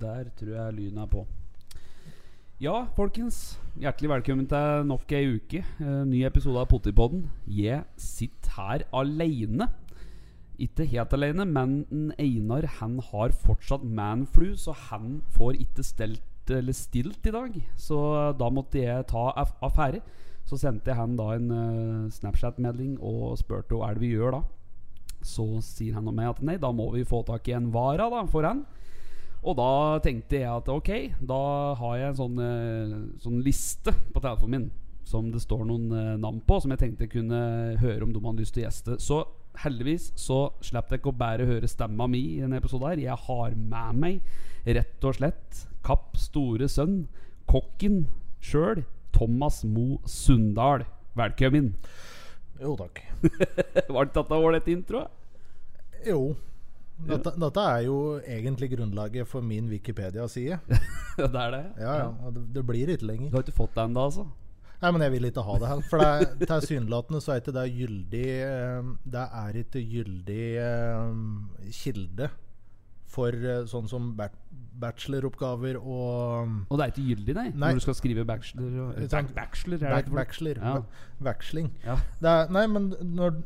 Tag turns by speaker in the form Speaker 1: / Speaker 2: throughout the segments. Speaker 1: Der tror jeg lyden er på. Ja, folkens. Hjertelig velkommen til nok ei uke. Eh, ny episode av Pottipodden. Jeg sitter her aleine. Ikke helt alene, men en Einar han har fortsatt manflu, så han får ikke stelt eller stilt i dag. Så eh, da måtte jeg ta aff- affære. Så sendte jeg han da en eh, Snapchat-melding og spurte hva er det vi gjør da. Så sier han og meg at nei, da må vi få tak i en vara da, for han. Og da tenkte jeg at ok, da har jeg en sånn, eh, sånn liste på telefonen min som det står noen eh, navn på, som jeg tenkte jeg kunne høre om de hadde lyst til å gjeste. Så heldigvis så slapp dere å bare høre stemma mi i denne episoden her. Jeg har med meg rett og slett Kapp store sønn, kokken sjøl, Thomas Mo Sundal. Velkommen.
Speaker 2: Jo takk.
Speaker 1: Var det dette ålreit intro?
Speaker 2: Jo. Dette, dette er jo egentlig grunnlaget for min Wikipedia-side.
Speaker 1: det er det?
Speaker 2: Ja, ja. og Det, det blir ikke
Speaker 1: Du
Speaker 2: lenger.
Speaker 1: har ikke fått det ennå, altså?
Speaker 2: Nei, men jeg vil ikke ha det her. For det er- tilsynelatende så er ikke det gyldig eh, Det er ikke gyldig eh, kilde for eh, sånn som bat- bacheloroppgaver og um,
Speaker 1: Og det er ikke gyldig, nei?
Speaker 2: Nei.
Speaker 1: Når du skal skrive bachelor og,
Speaker 2: Jeg tenker-
Speaker 1: Bachelor? er det
Speaker 2: back,
Speaker 1: ikke for-
Speaker 2: bachelor.
Speaker 1: Ja.
Speaker 2: ve- Veksling.
Speaker 1: Ja.
Speaker 2: Det er, nei, men når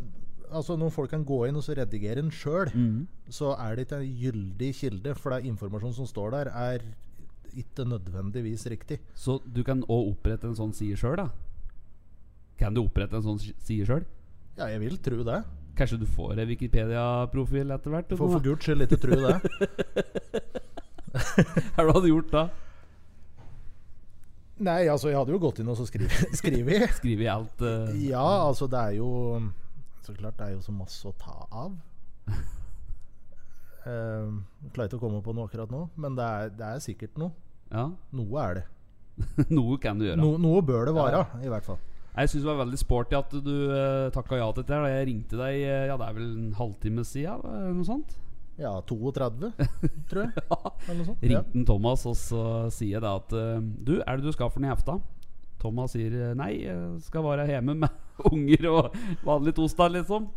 Speaker 2: Altså Når folk kan gå inn og så redigere en sjøl,
Speaker 1: Mhm.
Speaker 2: så er det ikke en gyldig kilde, for det er informasjon som står der, er ikke nødvendigvis riktig.
Speaker 1: Så du kan òg opprette en sånn side sjøl, da? Kan du opprette en sånn si- side sjøl?
Speaker 2: Ja, jeg vil tro det.
Speaker 1: Kanskje du får en Wikipedia-profil etter hvert?
Speaker 2: For, for
Speaker 1: du,
Speaker 2: guds skyld ikke tro det.
Speaker 1: Hva hadde du gjort da?
Speaker 2: Nei, altså, jeg hadde jo gått inn og så skrevet. skrevet.
Speaker 1: Skrive i alt eh,
Speaker 2: Ja, altså, det er jo Så klart, det er jo så masse å ta av. Uh, klarer ikke å komme på noe akkurat nå, men det er, det er sikkert noe.
Speaker 1: Ja,
Speaker 2: Noe er det.
Speaker 1: noe kan du gjøre.
Speaker 2: No, noe bør det være, i hvert fall.
Speaker 1: Jeg syns det var veldig sporty at du uh, takka ja til dette. her, da Jeg ringte deg eh, ja, det er vel en halvtime siden, eller noe sånt?
Speaker 2: Ja, 32, tror jeg. Eller noe sånt. Ja.
Speaker 1: Ringte han Thomas, og så sier jeg da at eh, Du, er det du skal for noe i hefta? Thomas sier eh, nei, jeg skal være hjemme med unger og vanlig tosdag, liksom.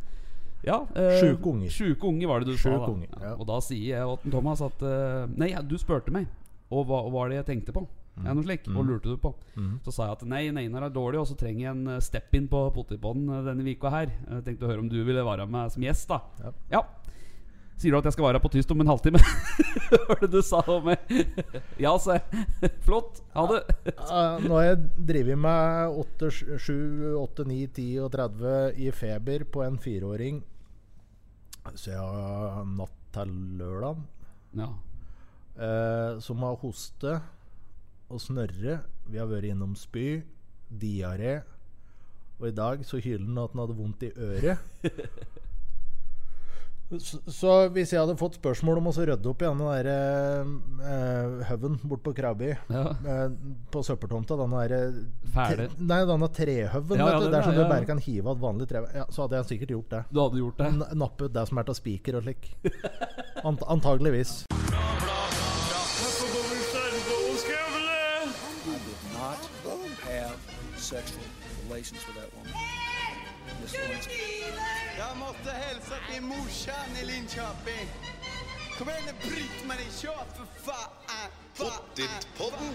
Speaker 1: Ja, eh,
Speaker 2: Sjuke unger.
Speaker 1: Sjuke unger var det du sa.
Speaker 2: Sjuke
Speaker 1: Da.
Speaker 2: unger, ja.
Speaker 1: Og da sier jeg til Thomas at eh, Nei, ja, du spurte meg. Og hva hva var det jeg tenkte på?
Speaker 2: Mm.
Speaker 1: Ja, noe slik, Og lurte du på. Så sa jeg at nei, Neinar er dårlig, og så trenger jeg en eh, step in på potetbånd denne uka her. Jeg tenkte å høre om du ville være med som gjest, da.
Speaker 2: Ja.
Speaker 1: ja. Sier du at jeg skal være her på tyst om en halvtime? Hva var det du sa om meg? ja, sa jeg. Flott. Ha det.
Speaker 2: Eh, Nå har jeg drevet med 8, 7, 8, 9, 10 og 30 i feber på en fireåring siden natt til lørdag.
Speaker 1: Ja.
Speaker 2: Eh, som har hoste og snørre. Vi har vært innom spy, diaré. Og i dag så hyler han at han hadde vondt i øret. Så, så hvis jeg hadde fått spørsmål om å så rydde opp igjen den der eh, haugen bort på Krabby
Speaker 1: ja.
Speaker 2: Eh, på søppeltomta, denne derre
Speaker 1: Fæle.
Speaker 2: tre- eh, Nei, denne trehøven,
Speaker 1: Ja, ja,
Speaker 2: vet du.
Speaker 1: den
Speaker 2: Der som
Speaker 1: er- ja,
Speaker 2: du
Speaker 1: ja.
Speaker 2: bare kan hive av et vanlig tre... Ja, så hadde jeg sikkert gjort det.
Speaker 1: Du hadde gjort det?
Speaker 2: N nappet det som er av spiker og slik. Ant antageligvis.
Speaker 3: not have sexual relations with that woman. Miss Lewinsky.
Speaker 4: Jag måste hälsa till morsan i Linköping. Kom igen nu Britt-Marie, kör för fan! Pottit-podden!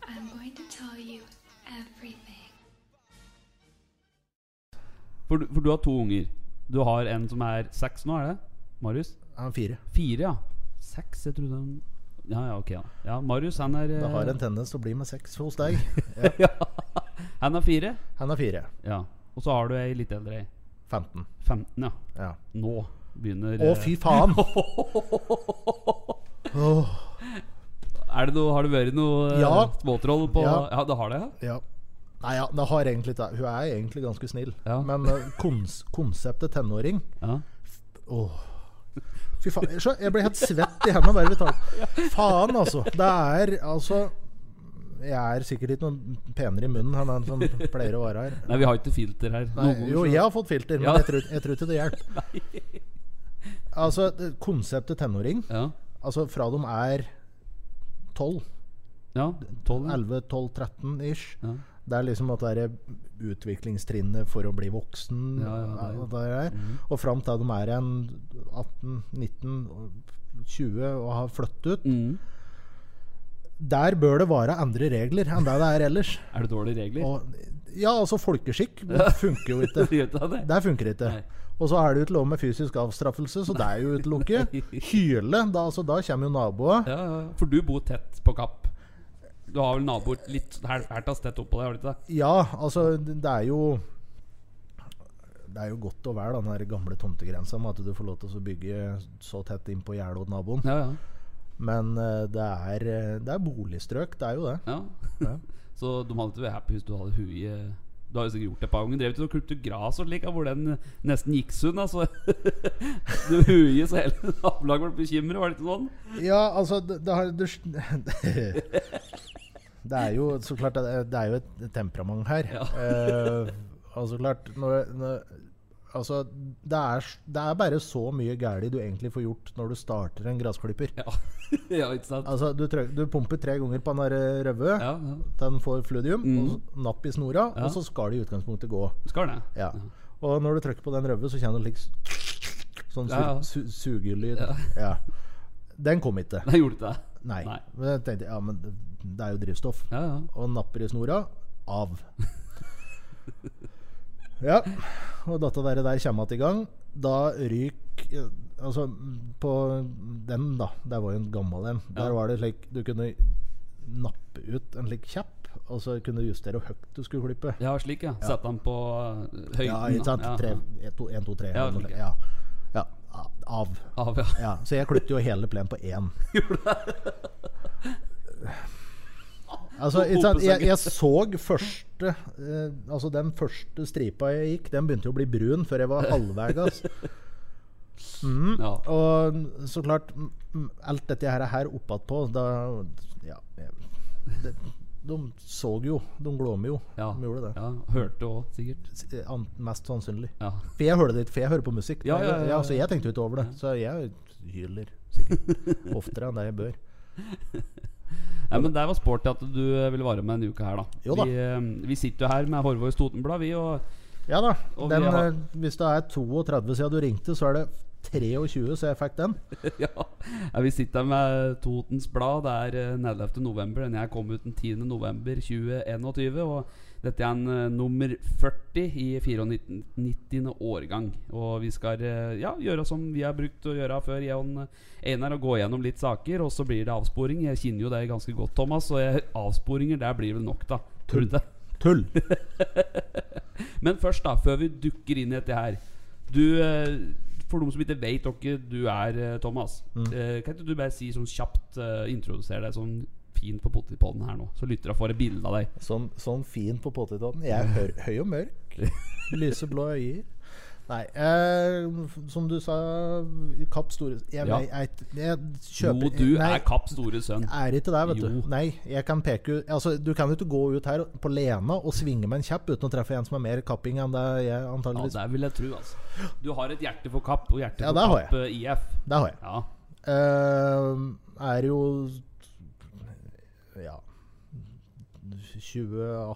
Speaker 5: I'm going to tell you everything.
Speaker 1: For du, for du har to unger. Du har en som er seks nå, er det? Marius?
Speaker 2: Han er fire.
Speaker 1: Fire, ja. Seks, jeg trodde han Ja, ja, ok. da Ja, Marius, han er
Speaker 2: Det har
Speaker 1: eh,
Speaker 2: en tendens til å bli med sex hos deg.
Speaker 1: Han er fire.
Speaker 2: Han er fire.
Speaker 1: Ja. Og så har du ei litt eldre ei.
Speaker 2: 15.
Speaker 1: 15, ja.
Speaker 2: Ja.
Speaker 1: Nå begynner
Speaker 2: Å,
Speaker 1: eh,
Speaker 2: fy faen! Åh,
Speaker 1: Er det noe, Har det vært noe eh,
Speaker 2: Ja.
Speaker 1: småtroll på Ja,
Speaker 2: Ja.
Speaker 1: det har det, ja?
Speaker 2: ja. Nei, ja, det har egentlig ikke Hun er egentlig ganske snill,
Speaker 1: Ja.
Speaker 2: men eh, kons konseptet tenåring
Speaker 1: ja.
Speaker 2: Åh. Fy faen. Se, jeg blir helt svett i hendene bare vi tar den. Faen, altså. Det er altså Jeg er sikkert ikke noe penere i munnen enn den som pleier å være her.
Speaker 1: Nei, vi har ikke filter her.
Speaker 2: Nei,
Speaker 1: Noen ganger
Speaker 2: jo,
Speaker 1: så-
Speaker 2: jeg har fått filter, men
Speaker 1: Ja.
Speaker 2: jeg tror- jeg tror ikke det hjelper. Altså, det- konseptet tenåring
Speaker 1: Ja.
Speaker 2: Altså fra de er 12,
Speaker 1: Ja, 12 ja.
Speaker 2: 11, 12, 13 ish,
Speaker 1: Ja.
Speaker 2: Det er liksom at det er utviklingstrinnet for å bli voksen.
Speaker 1: Ja, ja, det er jo- Mhm.
Speaker 2: og, det der. og fram til de er en 18-19-20 og har flyttet ut.
Speaker 1: Mm.
Speaker 2: Der bør det være andre regler enn det det er ellers.
Speaker 1: Er det dårlige regler?
Speaker 2: Og, ja, altså folkeskikk funker jo ikke.
Speaker 1: Gjør det det?
Speaker 2: Der funker det ikke.
Speaker 1: Nei.
Speaker 2: Og så er det jo ikke lov med fysisk avstraffelse, så det er jo utelukket. Hyle, da, altså, da kommer jo naboen.
Speaker 1: Ja, ja, ja. for du bor tett på Kapp. Du har vel naboer litt her, her tas tett oppå deg, har du ikke det?
Speaker 2: Ja, altså, det det er jo Det er jo godt og vel, da, den her gamle tomtegrensa med at du får lov til å bygge så tett innpå gjerdet til naboen.
Speaker 1: Ja, ja.
Speaker 2: Men eh, det er, eh, det er boligstrøk, det er jo det.
Speaker 1: Ja.
Speaker 2: Ja.
Speaker 1: Så de hadde ikke vært happy hvis du hadde huet i Du har jo sikkert gjort det et par ganger. Drevet og klippet gras og slik, hvor den eh, nesten gikk sunn. Altså. du huet så hele nabolaget ble bekymret, var det ikke sånn?
Speaker 2: Ja, altså Det, det, har, du, det er jo så klart Det er, det er jo et temperament her. Eh, altså klart når, når, Altså det er, s- det er bare så mye galt du egentlig får gjort når du starter en gressklipper.
Speaker 1: Ja. ja, ikke sant?
Speaker 2: Altså du, trø- du pumper tre ganger på den der røve
Speaker 1: Ja, ja.
Speaker 2: til den får fludium,
Speaker 1: Mm.
Speaker 2: og så napp i snora,
Speaker 1: Ja.
Speaker 2: og så skal det i utgangspunktet gå.
Speaker 1: Skal det?
Speaker 2: Ja. Og når du trykker på den røve, så kjenner du liksom sånn su
Speaker 1: Ja, ja.
Speaker 2: su sugelyd.
Speaker 1: Ja.
Speaker 2: Ja. Den kom ikke.
Speaker 1: Nei, gjorde det ikke det?
Speaker 2: Nei.
Speaker 1: Nei.
Speaker 2: Men jeg tenkte, ja, men det er jo drivstoff.
Speaker 1: Ja, ja.
Speaker 2: Og napper i snora av. ja. Og dette der, der kommer igjen i gang. Da ryk eh, Altså, på den, da. Det var jo en gammel en. Der
Speaker 1: Ja.
Speaker 2: var det slik Du kunne nappe ut en slik kjapp, og så kunne du justere hvor høyt du skulle klippe.
Speaker 1: Ja, slik, ja. Sette den på uh, høyden.
Speaker 2: Ja, ikke sant?
Speaker 1: da.
Speaker 2: Tre, en, to, en, to, tre.
Speaker 1: Ja,
Speaker 2: eller noe
Speaker 1: slik,
Speaker 2: slik.
Speaker 1: ja.
Speaker 2: ja. ja. a- Av.
Speaker 1: Av, ja.
Speaker 2: Ja, så jeg klippte jo hele plenen på én. Altså, ikke sant, jeg, jeg så første eh, Altså Den første stripa jeg gikk, den begynte jo å bli brun før jeg var halvveis. Mm.
Speaker 1: Ja.
Speaker 2: Og så klart mm, mm, Alt dette her, her oppatpå da, ja, jeg- det, De så jo. De glåmer jo.
Speaker 1: ja.
Speaker 2: De gjorde det.
Speaker 1: ja. Hørte òg, sikkert.
Speaker 2: S- eh, an- Mest sannsynlig.
Speaker 1: Ja.
Speaker 2: For jeg hører det ikke, for jeg hører på musikk.
Speaker 1: Ja, ja, ja, ja.
Speaker 2: Så jeg tenkte jo ikke over det. Så jeg hyler sikkert oftere enn det jeg bør.
Speaker 1: Nei, men det var sporty at du eh, ville være med denne uka her, da.
Speaker 2: Jo da.
Speaker 1: Vi, eh, vi sitter jo her med Horvors Totenblad, vi, og
Speaker 2: Ja da.
Speaker 1: Og
Speaker 2: Den,
Speaker 1: vi har-
Speaker 2: eh, hvis det er 32 siden du ringte, så er det 23 så jeg fikk den.
Speaker 1: ja. ja, Vi sitter her med Totens Blad. Det er eh, 11. november. Den her kom ut den 10. november 2021. Og dette er en eh, nummer 40 i 94. årgang. Og vi skal eh, ja, gjøre som vi har brukt å gjøre før, jeg og eh, Einar, og gå gjennom litt saker. Og så blir det avsporing. Jeg kjenner jo deg ganske godt, Thomas, og jeg, avsporinger der blir vel nok, da. Tror du det?
Speaker 2: Tull!
Speaker 1: Men først, da, før vi dukker inn i dette her Du, eh, For dem som ikke vet hvem du er, eh, Thomas,
Speaker 2: Mm.
Speaker 1: eh, kan ikke du bare si sånn kjapt eh, Introdusere deg sånn fint på potetpollen her nå, så lytterne får et bilde av deg.
Speaker 2: Sånn, sånn fin på potetåten. Jeg er høy, høy og mørk. Lyseblå øyer. Nei, eh, som du sa Kapp Store Jeg,
Speaker 1: Ja.
Speaker 2: vei- jeg, jeg
Speaker 1: Jo,
Speaker 2: kjøper
Speaker 1: du
Speaker 2: nei,
Speaker 1: er Kapp store sønn.
Speaker 2: Er ikke det, vet
Speaker 1: Jo.
Speaker 2: du. Nei, jeg kan peke ut Altså, Du kan jo ikke gå ut her på Lena og svinge med en kjapp uten å treffe en som er mer kapping enn det jeg
Speaker 1: Ja,
Speaker 2: antageligvis
Speaker 1: det vil jeg tro, altså. Du har et hjerte for Kapp og hjerte
Speaker 2: Ja,
Speaker 1: for
Speaker 2: det har
Speaker 1: Kapp eh, IF.
Speaker 2: Det har jeg.
Speaker 1: Ja.
Speaker 2: Eh, er jo Ja 2018,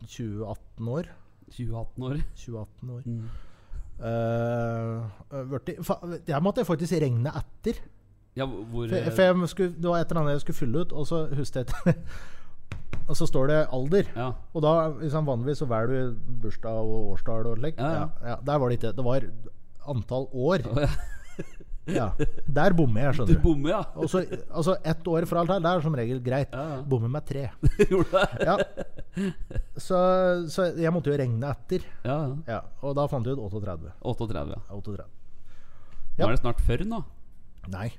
Speaker 2: 2018 år.
Speaker 1: 2018 år.
Speaker 2: 2018 år.
Speaker 1: Mm.
Speaker 2: Eh, vørti- fa, jeg måtte faktisk regne etter.
Speaker 1: Ja, hvor
Speaker 2: For,
Speaker 1: eh,
Speaker 2: for jeg skulle, Det var et eller annet jeg skulle fylle ut, og så husket jeg etter. Og så står det alder.
Speaker 1: Ja.
Speaker 2: Og da liksom, vanligvis så velger du bursdag og årstall og slikt.
Speaker 1: Ja, ja.
Speaker 2: der var det ikke. Det var antall år. ja. Der bommer
Speaker 1: Du
Speaker 2: jeg, skjønner du.
Speaker 1: bommer, ja.
Speaker 2: Og så, altså ett år fra alt her, det er som regel greit.
Speaker 1: Ja, ja.
Speaker 2: Bommer med tre.
Speaker 1: Gjorde det?
Speaker 2: Ja. Så, så jeg måtte jo regne etter.
Speaker 1: Ja, ja.
Speaker 2: Ja, og da fant jeg ut 38.
Speaker 1: 38, ja.
Speaker 2: 38.
Speaker 1: Nå
Speaker 2: Ja.
Speaker 1: er det snart 40 nå.
Speaker 2: Nei.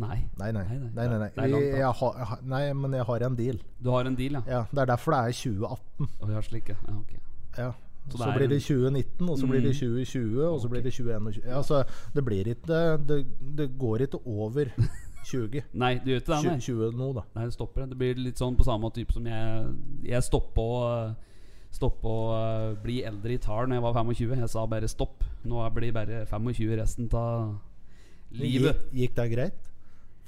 Speaker 1: Nei.
Speaker 2: Nei, nei.
Speaker 1: Nei,
Speaker 2: nei,
Speaker 1: nei.
Speaker 2: nei, nei.
Speaker 1: Det er langt,
Speaker 2: Vi,
Speaker 1: da.
Speaker 2: jeg har, jeg har- nei, men jeg har en deal.
Speaker 1: Du har en deal, ja?
Speaker 2: Ja, Det er derfor det er 2018.
Speaker 1: Å, ja slik, ja. ja ok.
Speaker 2: Ja.
Speaker 1: Så
Speaker 2: Så,
Speaker 1: det er
Speaker 2: blir det
Speaker 1: en- Mm.
Speaker 2: 2019, og så blir det 2020, og så blir det 2021. Ja, så det blir ikke Det, det går ikke over 20.
Speaker 1: Nei, du gjør ikke det, nei.
Speaker 2: 20, 20 nå, da.
Speaker 1: Nei, det stopper. Det blir litt sånn på samme type som jeg Jeg stoppa å Stoppa å eh, bli eldre i tall Når jeg var 25. Jeg sa bare stopp. Nå blir jeg bare 25 resten av livet.
Speaker 2: Gikk, gikk det greit?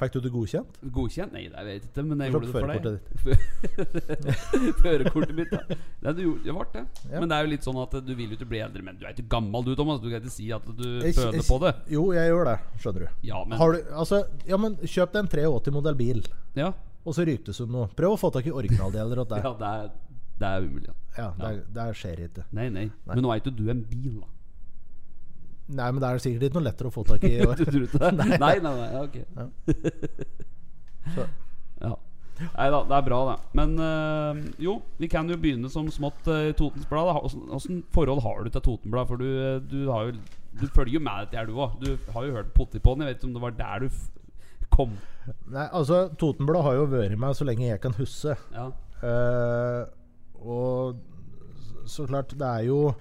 Speaker 2: Fikk du det godkjent?
Speaker 1: Godkjent? Nei, jeg vet ikke, men jeg
Speaker 2: Du
Speaker 1: gjorde
Speaker 2: tok
Speaker 1: det for deg.
Speaker 2: førerkortet
Speaker 1: Førerkortet mitt, ja. Nei, du gjorde, det ble det.
Speaker 2: Ja.
Speaker 1: Men det er jo litt sånn at du vil jo ikke bli eldre. Men du er ikke gammel du, Thomas. Du kan ikke si at du
Speaker 2: Jeg-
Speaker 1: føler
Speaker 2: jeg-
Speaker 1: på det.
Speaker 2: Jo, jeg gjør det, skjønner du.
Speaker 1: Ja, men
Speaker 2: Har du altså, ja, men kjøp deg en 83-modell bil,
Speaker 1: Ja,
Speaker 2: og så ryktes det noe. Prøv å få tak i originaldeler åt deg.
Speaker 1: ja det, er, det er umulig. Ja.
Speaker 2: Ja, det, er- det skjer ikke.
Speaker 1: Nei, nei, Men nå er ikke du en bil, da.
Speaker 2: Nei, men det er sikkert ikke noe lettere å få tak i i år.
Speaker 1: Du tror ikke det? Nei, nei, nei, ja, ok.
Speaker 2: Så,
Speaker 1: Ja. Nei da, det er bra, det. Men eh, jo, vi kan jo begynne som smått eh, i Totens Blad. da. Åssen åssen forhold har du til Toten Blad? For du, eh, du, har jo, du følger jo med dette her, du òg. Du har jo hørt Pottipodden. Jeg vet ikke om det var der du f kom.
Speaker 2: Nei, altså, Totenblad har jo vært med så lenge jeg kan huske.
Speaker 1: Ja.
Speaker 2: Eh, og så- så klart, det er jo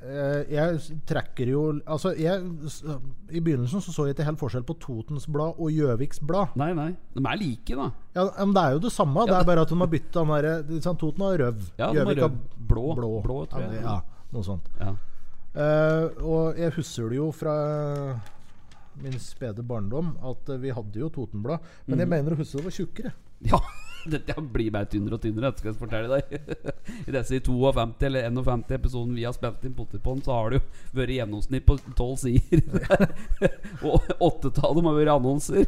Speaker 2: eh, Jeg s- trekker jo Altså, jeg, s- i begynnelsen så, så jeg ikke helt forskjell på Totens Blad og Gjøviks Blad.
Speaker 1: Nei, nei. De er like, da.
Speaker 2: Ja, men det er jo det samme, det
Speaker 1: Ja,
Speaker 2: er bare at de har bytta den derre liksom, Toten har røv.
Speaker 1: Ja, de har
Speaker 2: Gjøvik
Speaker 1: røv. Blå.
Speaker 2: blå.
Speaker 1: Blå, tror jeg.
Speaker 2: Ja, noe sånt.
Speaker 1: Ja.
Speaker 2: Eh, og jeg husker det jo fra min spede barndom at eh, vi hadde jo Totenblad. Men
Speaker 1: Mm.
Speaker 2: jeg mener å huske det var tjukkere.
Speaker 1: ja. Dette blir bare tynnere og tynnere, dette skal jeg fortelle deg. I disse 52 eller 51 episoden vi har spilt inn Pottipodden, så har det jo vært gjennomsnitt på tolv sider. og åttetallet må være annonser.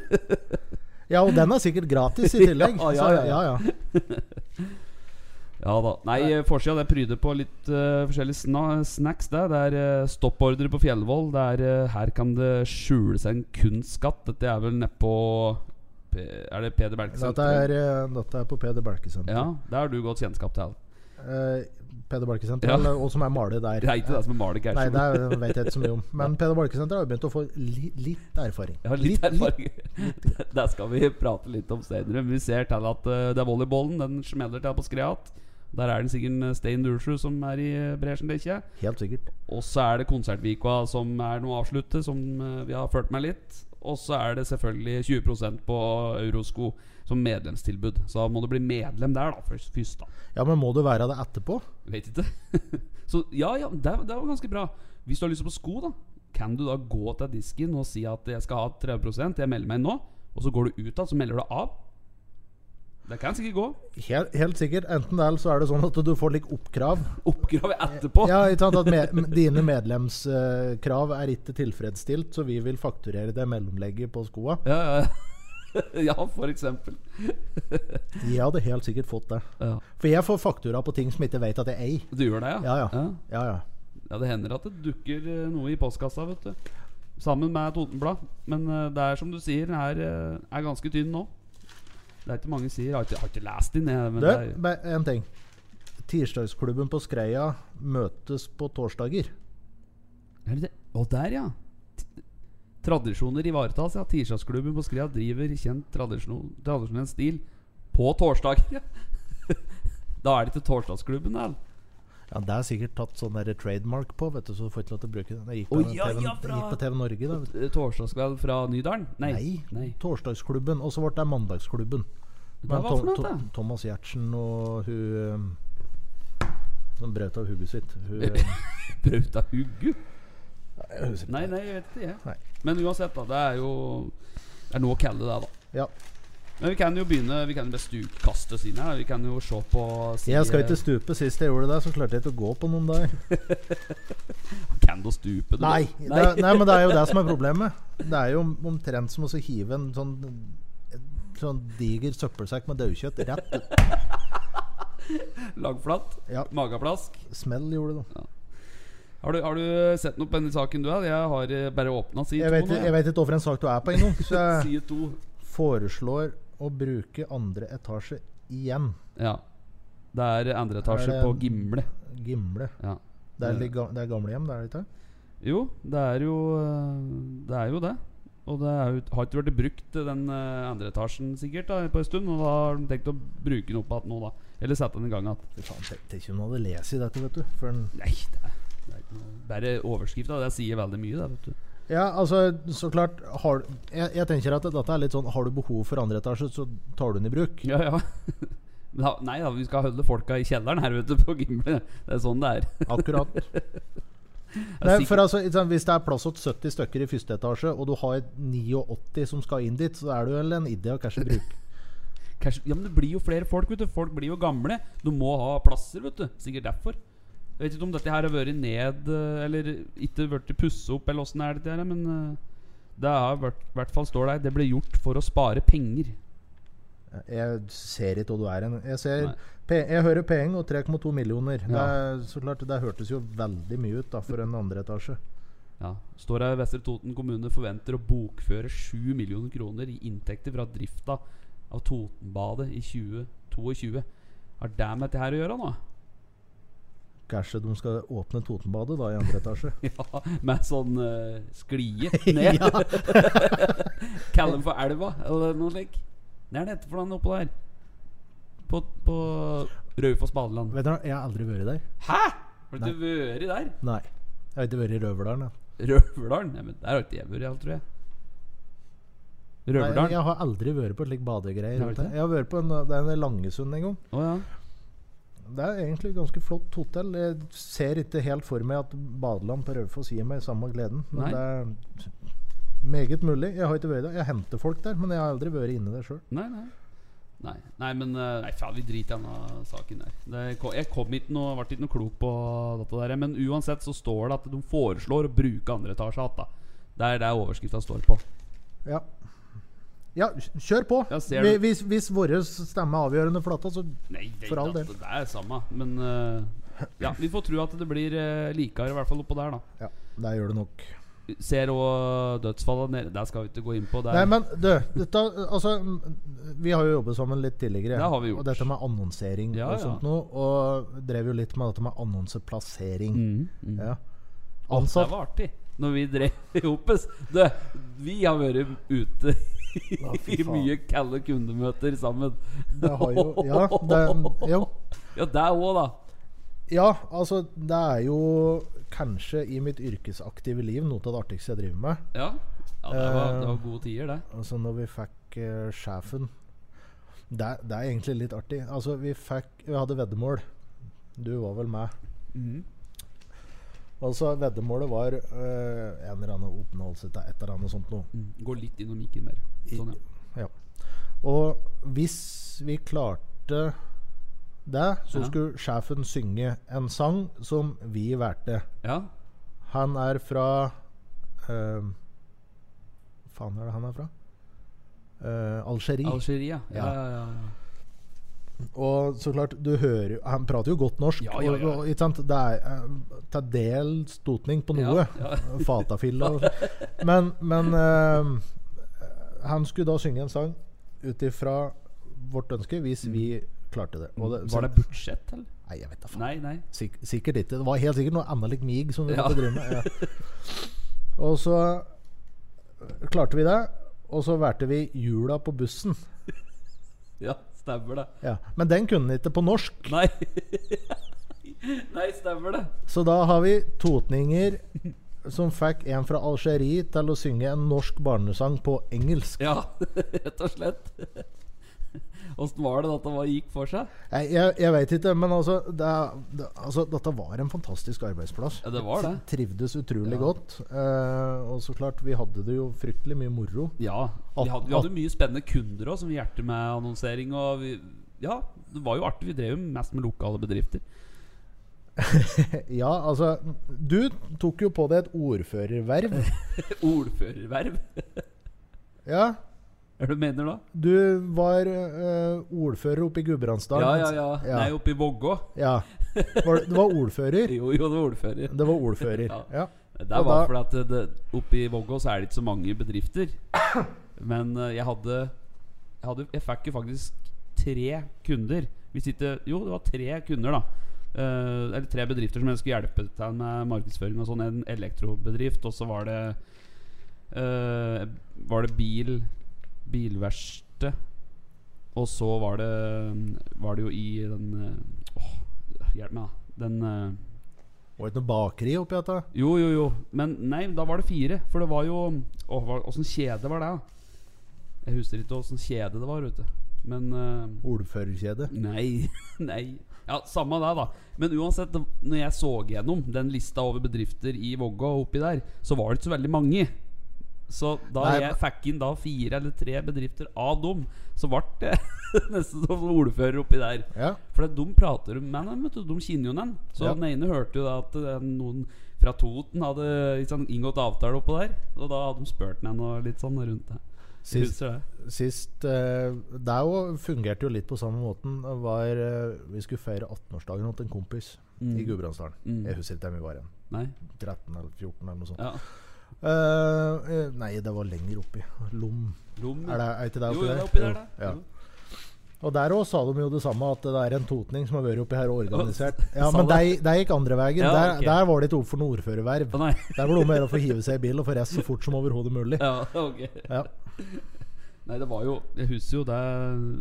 Speaker 2: Ja, og den er sikkert gratis i tillegg.
Speaker 1: Ja, ja,
Speaker 2: så-
Speaker 1: ja, ja. Ja da. Nei, eh, forsida det pryder på litt eh, forskjellige sna snacks. Der. Det er eh, stoppordre på Fjellvoll. Det er eh, Her kan det skjule seg en kunstskatt. Dette er vel nedpå Er det Peder Bergesen?
Speaker 2: Dette er, eh, dette er på Peder Berkesenteret.
Speaker 1: Ja, det har du godt kjennskap til.
Speaker 2: Eh, Peder
Speaker 1: Ja.
Speaker 2: Berkesenteret, og som er maler der.
Speaker 1: Det er ikke det som er Malik her.
Speaker 2: Nei, det er- vet jeg ikke så mye om. Men Peder Barkesenteret har jo begynt å få li, litt erfaring.
Speaker 1: Jeg har litt erfaring. Det skal vi prate litt om senere. Men vi ser til at eh, det er volleyballen. Den smeller til på skreat. Der er det sikkert en eh, Stein Dursrud som er i eh, bresjen, det ikke?
Speaker 2: Helt sikkert.
Speaker 1: Og så er det konsertvika som er noe å avslutte, som eh, vi har ført med litt. Og så er det selvfølgelig 20 på Eurosko som medlemstilbud. Så da må du bli medlem der, da, først. først da.
Speaker 2: Ja, men må du være det etterpå?
Speaker 1: Vet ikke. så ja, ja, det, det var ganske bra. Hvis du har lyst på sko, da, kan du da gå til disken og si at jeg skal ha 30 jeg melder meg inn nå. Og så går du ut da, så melder du av. Det kan sikkert gå.
Speaker 2: Helt, helt sikkert. Enten det, eller så er det sånn at du får litt oppkrav.
Speaker 1: Oppgrave etterpå.
Speaker 2: Ja, ikke sant at me, Dine medlemskrav er ikke tilfredsstilt, så vi vil fakturere det mellomlegget på skoa.
Speaker 1: ja, ja. ja for eksempel.
Speaker 2: Jeg hadde helt sikkert fått det.
Speaker 1: Ja.
Speaker 2: For jeg får faktura på ting som ikke vet at jeg eier.
Speaker 1: Du gjør det,
Speaker 2: Ja, ja. Ja, ja.
Speaker 1: Ja, det hender at det dukker eh, noe i postkassa, vet du. Sammen med Totenblad. Men eh, det er som du sier, den her eh, er ganske tynn nå. Det er ikke mange sier. Jeg har ikke, jeg har ikke lest den, jeg. Men det
Speaker 2: Du,
Speaker 1: er,
Speaker 2: bare en ting. Tirsdagsklubben på Skreia møtes på torsdager.
Speaker 1: er det, å, der, ja. T- Tradisjoner ivaretas, ja. Tirsdagsklubben på Skrea driver kjent tradisjon- tradisjonell stil på torsdager. Ja. da er det ikke torsdagsklubben, da.
Speaker 2: Ja, Det er sikkert tatt sånn der trademark på, vet du, så du får ikke lov til å bruke det. Det gikk på,
Speaker 1: Å, ja,
Speaker 2: TV,
Speaker 1: ja, fra-
Speaker 2: gikk på TV Norge, da. vet du.
Speaker 1: Eh, Torsdagskveld fra Nydalen? Nei.
Speaker 2: Nei. Torsdagsklubben. Og så ble det Mandagsklubben.
Speaker 1: Hva
Speaker 2: Men
Speaker 1: for noe,
Speaker 2: Tom-
Speaker 1: da?
Speaker 2: Tom- Thomas Giertsen og hun um, som brøt av hodet sitt Hun um,
Speaker 1: Brauta Huggu?
Speaker 2: jeg husker ikke.
Speaker 1: Nei, nei, jeg vet ikke. Jeg.
Speaker 2: Nei.
Speaker 1: Men uansett, da. Det er jo Det er noe å kalle det, da.
Speaker 2: Ja.
Speaker 1: Men vi kan jo begynne Vi kan jo bare stupkaste oss inn her. Vi kan jo se på si-
Speaker 2: Jeg skal ikke stupe. Sist jeg gjorde det, så klarte jeg ikke å gå på noen dager.
Speaker 1: Kan du stupe? Du?
Speaker 2: Nei,
Speaker 1: Nei.
Speaker 2: det, nei, men det er jo det som er problemet. Det er jo om- omtrent som å så hive en sånn, en sånn diger søppelsekk med daukjøtt rett ut.
Speaker 1: Lagflatt?
Speaker 2: Ja.
Speaker 1: Mageplask?
Speaker 2: Smell gjorde det.
Speaker 1: Har du, har du sett noe på denne saken du har? Jeg har eh, bare åpna side
Speaker 2: Jeg vet,
Speaker 1: to. nå,
Speaker 2: jeg vet ikke hvorfor en sak du er på ennå, så jeg
Speaker 1: Side to.
Speaker 2: foreslår å bruke andre etasje igjen.
Speaker 1: Ja. Det er andre etasje
Speaker 2: Er det-
Speaker 1: på Gimle.
Speaker 2: Gimle.
Speaker 1: Ja.
Speaker 2: Det er, litt ga- det er gamlehjem, det er det ikke?
Speaker 1: Jo, det er jo eh, Det er jo det. Og det er jo, har ikke vært brukt eh, den eh, andre etasjen sikkert da, på en stund, og da har de tenkt å bruke den opp igjen nå, da. Eller sette den i gang igjen.
Speaker 2: Fy faen, tenk- Tenk om hun hadde lest i dette, vet du. For en
Speaker 1: Nei, det er, det er ikke noe Bare overskrifta. Det sier veldig mye, det, vet du.
Speaker 2: Ja, altså, så klart har, jeg, jeg tenker at dette er litt sånn Har du behov for andre etasje, så tar du den i bruk.
Speaker 1: Ja, ja. Da, nei da, vi skal holde folka i kjelleren her ute på Gimle. Det er sånn det er.
Speaker 2: Akkurat. Nei, for altså, ikke sant, Hvis det er plass til 70 stykker i første etasje, og du har et 89 som skal inn dit, så er du vel en idé å kanskje bruke.
Speaker 1: Kanskje, ja, men det blir jo flere folk, vet du. Folk blir jo gamle. Du må ha plasser, vet du. Sikkert derfor. Jeg vet ikke om dette her har vært ned eh, Eller ikke blitt pussa opp, eller åssen er det her, men eh, det har vært, i hvert fall står der. Det ble gjort for å spare penger.
Speaker 2: Jeg ser ikke hva du er hen. Jeg, ser,
Speaker 1: Nei.
Speaker 2: pe- jeg hører penger og 3,2 millioner. Det,
Speaker 1: Ja.
Speaker 2: er, så klart, det hørtes jo veldig mye ut da, for en andre etasje.
Speaker 1: Ja, står her Vestre Toten kommune forventer å bokføre 7 millioner kroner i inntekter fra drifta av Totenbadet i 2022. Har det med dette her å gjøre nå?
Speaker 2: Kanskje de skal åpne Totenbadet da i andre etasje?
Speaker 1: Ja, med sånn eh, sklie ned. Kaller den for elva, eller noe slikt. Det er det heter for den oppå der. På, på Raufoss badeland.
Speaker 2: Vet du, hva, Jeg har aldri vært der.
Speaker 1: Hæ?! Har du ikke vært der?
Speaker 2: Nei. Jeg har ikke vært i Røverdalen. jeg.
Speaker 1: Røverdalen? Nei, men der har ikke jeg vært, jeg, tror jeg.
Speaker 2: Nei,
Speaker 1: Røverdalen?
Speaker 2: jeg har aldri vært på slik badegreier.
Speaker 1: Har du
Speaker 2: vet
Speaker 1: ikke?
Speaker 2: du. Jeg har vært på en, det er en Langesund en gang.
Speaker 1: Å ja.
Speaker 2: Det er egentlig et ganske flott hotell. Jeg ser ikke helt for meg at badeland på Raufoss gir meg samme gleden. Men
Speaker 1: Nei.
Speaker 2: det er meget mulig. Jeg har ikke vært der. Jeg henter folk der, men jeg har aldri vært inne der sjøl.
Speaker 1: Nei, nei. Nei, nei men eh, nei, faen, vi driter i denne saken der. Det, ko- jeg kom ikke noe, ble ikke noe klok på dette der. Men uansett så står det at de foreslår å bruke andre etasje igjen. da. Det er det overskrifta står på.
Speaker 2: Ja. ja, kjør på.
Speaker 1: Ja, ser
Speaker 2: Vi-
Speaker 1: du.
Speaker 2: hvis hvis vår stemme er avgjørende for dette, så
Speaker 1: Nei, det,
Speaker 2: For all
Speaker 1: det,
Speaker 2: del.
Speaker 1: det er samme. Men eh, ja, vi får tro at det blir uh, likere, i hvert fall oppå der, da.
Speaker 2: Ja, der gjør det nok.
Speaker 1: Ser òg dødsfallene nede. Det skal vi ikke gå inn på. Det
Speaker 2: Nei,
Speaker 1: er,
Speaker 2: men du, dette, altså mm, Vi har jo jobbet sammen litt tidligere.
Speaker 1: Det har vi gjort.
Speaker 2: Og dette med annonsering
Speaker 1: Ja,
Speaker 2: og
Speaker 1: ja.
Speaker 2: sånt noe. Og drev jo litt med dette med annonseplassering.
Speaker 1: mm, mm.
Speaker 2: Ja.
Speaker 1: Å, Det
Speaker 2: Ansatt
Speaker 1: var artig når vi drev i Opus. Du, vi har vært ute
Speaker 2: Ja, fy
Speaker 1: i
Speaker 2: faen.
Speaker 1: mye kalde kundemøter sammen.
Speaker 2: Det har jo Ja, det, jo.
Speaker 1: Ja, det òg, da.
Speaker 2: ja altså det er jo kanskje i mitt yrkesaktive liv noe av det artigste jeg driver med.
Speaker 1: Ja, ja det, var, det var gode tider, det.
Speaker 2: Altså når vi fikk eh, sjefen det, er- det er egentlig litt artig. Altså vi fikk Vi hadde veddemål. Du var vel med. Altså Veddemålet var eh, en eller annen oppnåelse til et eller annet sånt noe.
Speaker 1: Mm. Gå litt innom mikken mer. Sånn, ja.
Speaker 2: Ja. Og hvis vi klarte det, så
Speaker 1: Ja.
Speaker 2: skulle sjefen synge en sang som vi valgte.
Speaker 1: ja.
Speaker 2: Han er fra eh, Faen, hva er det han er fra? Eh, Algerie.
Speaker 1: Algeria. Ja, ja, ja.
Speaker 2: og så klart, du hører jo Han prater jo godt norsk.
Speaker 1: Ja, ja, ja.
Speaker 2: Og, og, ikke sant? Det er eh, til del stotning på
Speaker 1: Ja,
Speaker 2: noe.
Speaker 1: ja.
Speaker 2: Fatafilla og sånn. Men, men eh, han skulle da synge en sang ut ifra vårt ønske, hvis vi klarte det. Og
Speaker 1: Mm. Var det budsjett, eller?
Speaker 2: Nei, jeg vet da faen.
Speaker 1: Nei, nei.
Speaker 2: Sik sikkert ikke. Det var helt sikkert noe annet lik mig som vi
Speaker 1: Ja.
Speaker 2: måtte drive med. Ja. Og så eh, klarte vi det. Og så valgte vi jula på bussen.
Speaker 1: Ja, stemmer det.
Speaker 2: Ja. Men den kunne den ikke på norsk.
Speaker 1: Nei. nei, stemmer det.
Speaker 2: Så da har vi totninger som fikk en fra Algerie til å synge en norsk barnesang på engelsk.
Speaker 1: Ja, rett og slett. Åssen var det dette var- gikk for seg?
Speaker 2: Jeg, jeg, jeg veit ikke, men altså, det, er- det, altså Dette var en fantastisk arbeidsplass.
Speaker 1: Ja, det var det.
Speaker 2: Trivdes utrolig
Speaker 1: Ja.
Speaker 2: godt. Eh, og så klart, vi hadde det jo fryktelig mye moro.
Speaker 1: Ja. Vi
Speaker 2: At-
Speaker 1: hadde, vi hadde mye spennende kunder òg, som vi hjertet med annonsering. Og vi, ja, det var jo artig. Vi drev jo mest med lokale bedrifter.
Speaker 2: Ja, altså Du tok jo på deg et ordførerverv.
Speaker 1: Ordførerverv.
Speaker 2: Ja.
Speaker 1: Er det du mener da?
Speaker 2: Du var eh, ordfører oppe i Gudbrandsdalen.
Speaker 1: Ja, ja, ja.
Speaker 2: Ja.
Speaker 1: Nei, oppe i Vågå.
Speaker 2: Ja. Var, det- det var ordfører.
Speaker 1: Jo, jo, det var ordfører.
Speaker 2: Det var ordfører.
Speaker 1: Ja.
Speaker 2: Ja.
Speaker 1: Det
Speaker 2: Og
Speaker 1: var
Speaker 2: da-
Speaker 1: fordi at det, det, oppe i Vågå så er det ikke så mange bedrifter. Men eh, jeg hadde Jeg, hadde, jeg fikk jo faktisk tre kunder. Hvis ikke Jo, det var tre kunder, da. Eh, eller tre bedrifter som jeg skulle hjelpe til med markedsføring og sånn. En elektrobedrift, og så var det eh, Var det bil Bilverksted. Og så var det Var det jo i den eh, Åh, hjelp meg, da. Den eh,
Speaker 2: Var det ikke noe bakeri oppi dette?
Speaker 1: jo, jo, jo. Men nei, da var det fire. For det var jo Åh, hva- Åssen kjede var det? da? Jeg husker ikke åssen kjede det var. Vet du. Men eh,
Speaker 2: Ordførerkjede.
Speaker 1: Nei. Nei. Ja, Samme det, da. Men uansett, det- når jeg så gjennom den lista over bedrifter i Vågå og oppi der, så var det ikke så veldig mange. Så da
Speaker 2: Nei,
Speaker 1: jeg
Speaker 2: men-
Speaker 1: fikk inn da fire eller tre bedrifter av dem, så ble det nesten som ordfører oppi der.
Speaker 2: Ja.
Speaker 1: For de prater jo med dem, vet du. De kjenner jo den. Så
Speaker 2: Ja.
Speaker 1: den ene hørte jo da at eh, noen fra Toten hadde ikke sant, inngått avtale oppå der. Og da hadde de spurt den og litt sånn rundt det. Jeg
Speaker 2: Sist,
Speaker 1: Husker det.
Speaker 2: sist eh, Det er jo, fungerte jo litt på samme måten. Var, eh, vi skulle feire 18-årsdagen hos en kompis i Gudbrandsdalen.
Speaker 1: Mm.
Speaker 2: Jeg husker ikke hvem vi var igjen.
Speaker 1: Nei.
Speaker 2: 13 eller 14 eller noe sånt.
Speaker 1: Ja.
Speaker 2: Eh, eh, nei, det var lenger oppi. Lom.
Speaker 1: Lom.
Speaker 2: Er det er ikke det
Speaker 1: Jo,
Speaker 2: oppi
Speaker 1: jo, det
Speaker 2: der?
Speaker 1: er oppi der, da.
Speaker 2: Ja. Og der òg sa de jo det samme, at det er en totning som har vært oppi her og organisert. Ja,
Speaker 1: Sa
Speaker 2: men
Speaker 1: det?
Speaker 2: de, de gikk andre veien.
Speaker 1: Ja,
Speaker 2: der,
Speaker 1: ok.
Speaker 2: der var det ikke opp for noe ordførerverv.
Speaker 1: Å, nei.
Speaker 2: Der var det om å gjøre å få hive seg i bil og få reist så fort som overhodet mulig.
Speaker 1: Ja, ok.
Speaker 2: Ja.
Speaker 1: Nei, det var jo Jeg husker jo det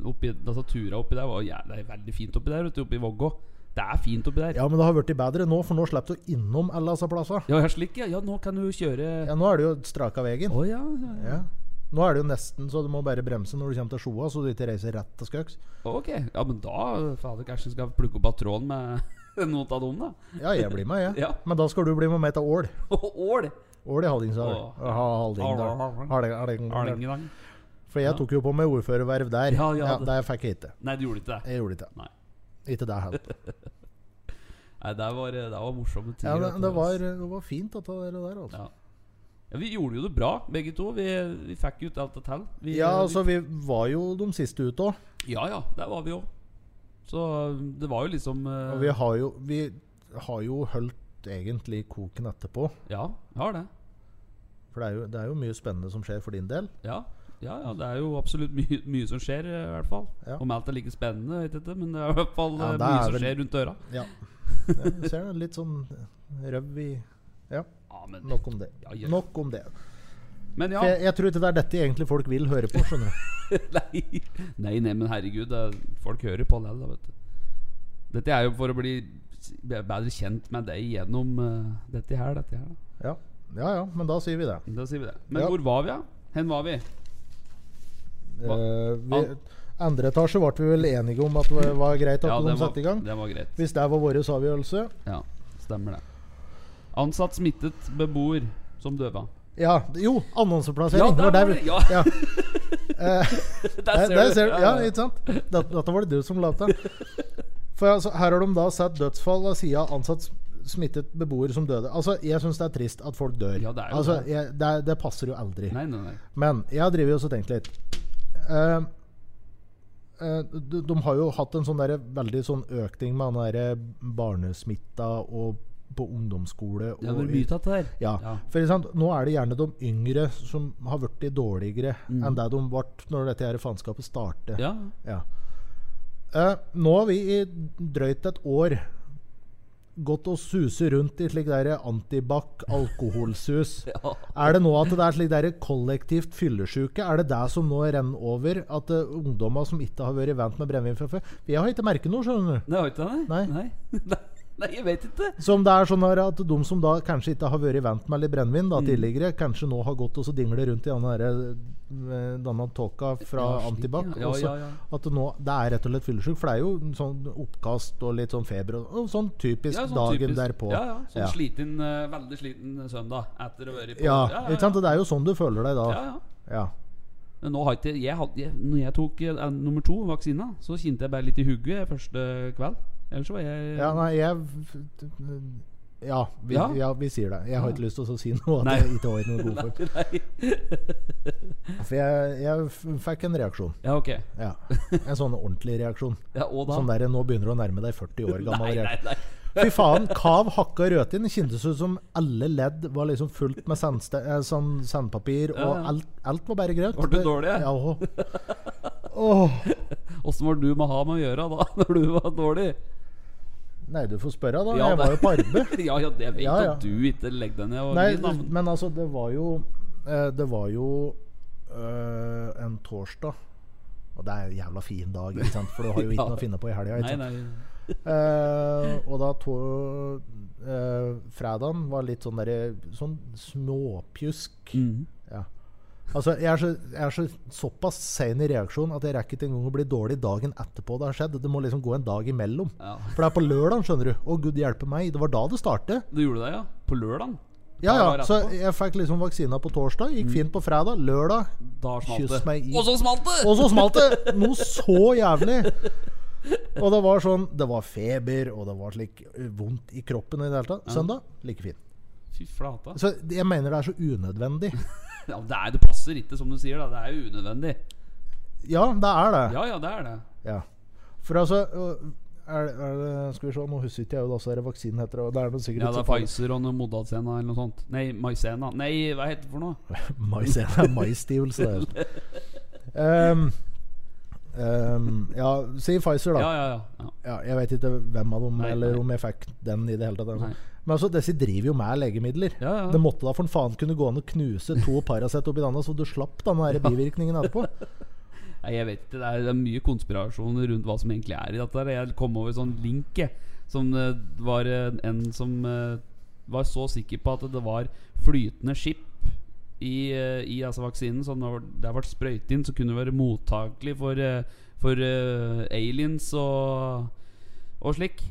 Speaker 1: oppi, altså, Tura oppi der var jo jævlig veldig fint oppi der, vet du. Oppi Vågå. Det er fint oppi der.
Speaker 2: ja, men det har blitt bedre nå, for nå slipper du innom alle disse plassene.
Speaker 1: Ja, ja slik, ja. ja. Nå kan du jo kjøre Å
Speaker 2: Ja, nå er det jo straka veien.
Speaker 1: ja. ja, ja.
Speaker 2: Ja. Nå er det jo nesten så du må bare bremse når du kommer til Sjoa, så du ikke reiser rett til Skøks.
Speaker 1: Ok. Ja, men da Fader, kanskje vi skal plukke opp av tråden med noen av dem, da.
Speaker 2: Ja, jeg blir med, jeg.
Speaker 1: Ja.
Speaker 2: Men da skal du bli med meg til Ål.
Speaker 1: Å, Ål!
Speaker 2: Ål i Hallingdal.
Speaker 1: Åh.
Speaker 2: Ja, Hallingdal. Halling- Hallingdal.
Speaker 1: Arlingedang.
Speaker 2: For jeg tok jo på meg ordførerverv der.
Speaker 1: Ja,
Speaker 2: Ja,
Speaker 1: ja, det-
Speaker 2: Der fikk jeg ikke.
Speaker 1: Nei, du gjorde ikke det.
Speaker 2: Jeg gjorde ikke det.
Speaker 1: Nei.
Speaker 2: Ikke det heller.
Speaker 1: Nei, det var, det var morsomme ting.
Speaker 2: Ja, men det var, det var fint, dette der, der altså.
Speaker 1: Ja. ja, Vi gjorde jo det bra, begge to. Vi, vi fikk ut alt det til. Vi-
Speaker 2: Ja,
Speaker 1: vi-
Speaker 2: altså, vi var jo de siste ute òg.
Speaker 1: Ja ja, der var vi òg. Så det var jo liksom eh,
Speaker 2: Og vi har jo Vi har jo holdt egentlig koken etterpå.
Speaker 1: Ja, vi har det.
Speaker 2: For det er, jo, det er jo mye spennende som skjer for din del.
Speaker 1: Ja, ja, ja det er jo absolutt mye, mye som skjer, eh, i hvert fall.
Speaker 2: Ja.
Speaker 1: Om alt er like spennende, vet jeg ikke, men det er i hvert fall
Speaker 2: Ja,
Speaker 1: eh,
Speaker 2: det
Speaker 1: mye
Speaker 2: er
Speaker 1: som
Speaker 2: vel-
Speaker 1: skjer rundt døra.
Speaker 2: Ja. ja du ser det. Litt sånn røv i Ja,
Speaker 1: Ja, men,
Speaker 2: nok om det.
Speaker 1: Ja, ja.
Speaker 2: Nok om det.
Speaker 1: men ja.
Speaker 2: For jeg, jeg tror ikke det er dette egentlig folk vil høre på, skjønner du.
Speaker 1: Nei. nei, nei, men herregud, det, er- folk hører på det, da, vet du. Dette er jo for å bli s- bedre kjent med deg gjennom eh, dette her, dette her. Da.
Speaker 2: Ja. ja ja, men da sier vi det.
Speaker 1: da sier vi det. Men
Speaker 2: Ja.
Speaker 1: hvor var vi, da? Hen var vi?
Speaker 2: Eh, vi,
Speaker 1: Al-
Speaker 2: andre etasje ble vi vel enige om at det var greit at de
Speaker 1: det var,
Speaker 2: satte i gang.
Speaker 1: det var greit.
Speaker 2: Hvis det var vår avgjørelse
Speaker 1: Ja, stemmer det. Ansatt smittet beboer som døva.
Speaker 2: Ja, jo,
Speaker 1: Ja, der
Speaker 2: annonseplassering. det var der
Speaker 1: var
Speaker 2: vi-
Speaker 1: det, ja.
Speaker 2: ja. Eh, der, der ser du. Ja,
Speaker 1: ja.
Speaker 2: ikke sant? Dette, dette var det du som la til. For altså, her har de da sett dødsfall av sida ansatt s- smittet beboer som døde. Altså, Jeg syns det er trist at folk dør.
Speaker 1: Ja, det er jo
Speaker 2: altså,
Speaker 1: det.
Speaker 2: jeg, det, er- det passer jo aldri.
Speaker 1: Nei, nei, nei.
Speaker 2: Men jeg har drevet og så tenkt litt. Eh, eh, de, de har jo hatt en sånn der, veldig sånn økning med han derre barnesmitta og på ungdomsskole.
Speaker 1: Det
Speaker 2: og
Speaker 1: var
Speaker 2: i-
Speaker 1: mye tatt her.
Speaker 2: ja.
Speaker 1: Ja.
Speaker 2: for ikke sant? Nå er det gjerne de yngre som har blitt dårligere enn det de ble når dette her faenskapet startet.
Speaker 1: Mm. Ja.
Speaker 2: Ja. Eh, nå har vi i drøyt et år gått og suser rundt i slik der antibac, alkoholsus.
Speaker 1: Ja.
Speaker 2: Er det nå at det er slik der kollektivt fyllesyke? Er det det som nå renner over? At uh, ungdommer som ikke har vært vant med brennevin fra før For Jeg har ikke merket noe, skjønner du.
Speaker 1: Nei, har ikke det?
Speaker 2: Nei.
Speaker 1: Nei. Nei. nei, jeg vet ikke.
Speaker 2: Så om det er sånn her at de som da kanskje ikke har vært vant med litt brennevin
Speaker 1: Mm.
Speaker 2: da, tidligere, kanskje nå har gått og så dingler rundt i denne, her, eh, denne tåka fra
Speaker 1: Ja, slik,
Speaker 2: Antibac
Speaker 1: ja. Ja,
Speaker 2: og så
Speaker 1: ja, ja.
Speaker 2: At det nå, det er rett og slett fyllesyk, for det er jo en sånn oppkast og litt sånn feber og, og sånn typisk
Speaker 1: Ja, sånn
Speaker 2: dagen
Speaker 1: typisk-
Speaker 2: derpå.
Speaker 1: Ja, ja. Sånn
Speaker 2: Ja.
Speaker 1: sliten, eh, veldig sliten søndag etter å ha vært på
Speaker 2: Ja, ikke sant? Og Det er jo sånn du føler deg da.
Speaker 1: Ja, ja.
Speaker 2: Ja.
Speaker 1: Men nå har ikke jeg, hadde- jeg Når jeg tok eh, nummer to, vaksina, så kjente jeg bare litt i hugget første kveld. Ellers så var jeg
Speaker 2: Ja, nei, jeg ja vi, ja.
Speaker 1: Ja.
Speaker 2: vi sier det. Jeg har ikke lyst til å si noe
Speaker 1: Nei.
Speaker 2: at jeg ikke har noe god for.
Speaker 1: Nei.
Speaker 2: For jeg, jeg f- fikk en reaksjon.
Speaker 1: Ja, ok.
Speaker 2: Ja. En sånn ordentlig reaksjon.
Speaker 1: Ja, og da?
Speaker 2: Sånn der, nå begynner du å nærme deg 40 år gammel
Speaker 1: nei, nei,
Speaker 2: reaksjon.
Speaker 1: nei.
Speaker 2: Fy faen, kav, hakka rødtin. Det Kjentes ut som alle ledd var liksom fullt med sandste, eh, sånn sandpapir, og
Speaker 1: Ja.
Speaker 2: alt, alt var bare grøt.
Speaker 1: Var du dårlig?
Speaker 2: Ja, åh. Åh.
Speaker 1: Åssen var du med å ha med å gjøre da, når du var dårlig?
Speaker 2: Nei, du får spørre, da.
Speaker 1: Ja,
Speaker 2: jeg
Speaker 1: det-
Speaker 2: var jo på arbeid.
Speaker 1: Ja, ja, det vet
Speaker 2: Ja, ja.
Speaker 1: at du ikke legger deg ned. Og
Speaker 2: Nei,
Speaker 1: gir, da, men-
Speaker 2: men altså, det var jo eh, Det var jo eh, en torsdag. Og det er en jævla fin dag, ikke sant? for du har jo ikke
Speaker 1: Ja.
Speaker 2: noe å finne på i helga.
Speaker 1: nei,
Speaker 2: ikke sant?
Speaker 1: nei.
Speaker 2: Eh, og da to, eh, Fredagen var litt sånn derre Sånn småpjusk.
Speaker 1: Mhm.
Speaker 2: Ja. Altså, jeg er, så, jeg er så, såpass sein i reaksjonen at jeg rekker ikke engang å bli dårlig dagen etterpå det har skjedd. Det må liksom gå en dag imellom.
Speaker 1: Ja.
Speaker 2: For det er på lørdag, skjønner du. Å, gud hjelpe meg. Det var da det startet.
Speaker 1: Du gjorde det, ja? På lørdag?
Speaker 2: Ja, ja.
Speaker 1: Da var det
Speaker 2: Så
Speaker 1: etterpå. Mhm.
Speaker 2: jeg fikk liksom vaksina på torsdag. Gikk fint på fredag. Lørdag.
Speaker 1: Da smalt
Speaker 2: Kyss
Speaker 1: det.
Speaker 2: meg i
Speaker 1: Og så smalt det!
Speaker 2: Og så smalt det! Noe så jævlig. Og det var sånn Det var feber, og det var slik eh, vondt i kroppen i det hele tatt. Søndag like fin.
Speaker 1: Fy flata.
Speaker 2: Så jeg mener det er så unødvendig.
Speaker 1: Ja, det, er, det passer ikke, som du sier. da Det er jo unødvendig.
Speaker 2: Ja, det er det.
Speaker 1: Ja, ja, det er det.
Speaker 2: Ja. For altså øh, er, det- er det, Skal vi se, nå husker ikke jeg hva altså, vaksinen heter. Og det er noe sikkert
Speaker 1: Ja, det
Speaker 2: ikke
Speaker 1: er Pfizer og noe Modalsena eller noe sånt. Nei, Maisena. Nei, hva heter det for noe?
Speaker 2: Mais, det er maisstivelse, det. er. Um, um, ja, si Pfizer, da.
Speaker 1: Ja,
Speaker 2: Ja.
Speaker 1: ja, ja. ja.
Speaker 2: jeg vet ikke hvem av dem,
Speaker 1: Nei,
Speaker 2: eller
Speaker 1: nei.
Speaker 2: om jeg fikk den i det hele tatt.
Speaker 1: Nei.
Speaker 2: Men altså, disse driver jo med legemidler.
Speaker 1: Ja, ja.
Speaker 2: Det måtte da for faen kunne gå an å knuse to Paracet oppi denne, så du slapp den der bivirkningen etterpå.
Speaker 1: Nei, jeg vet ikke. Det er, det er mye konspirasjon rundt hva som egentlig er i dette. her. Jeg kom over en sånn link jeg, som eh, var eh, en som eh, var så sikker på at det var flytende skip i, eh, i altså vaksinen. Så når det ble sprøytet inn, så kunne det være mottakelig for, eh, for eh, aliens og, og slik.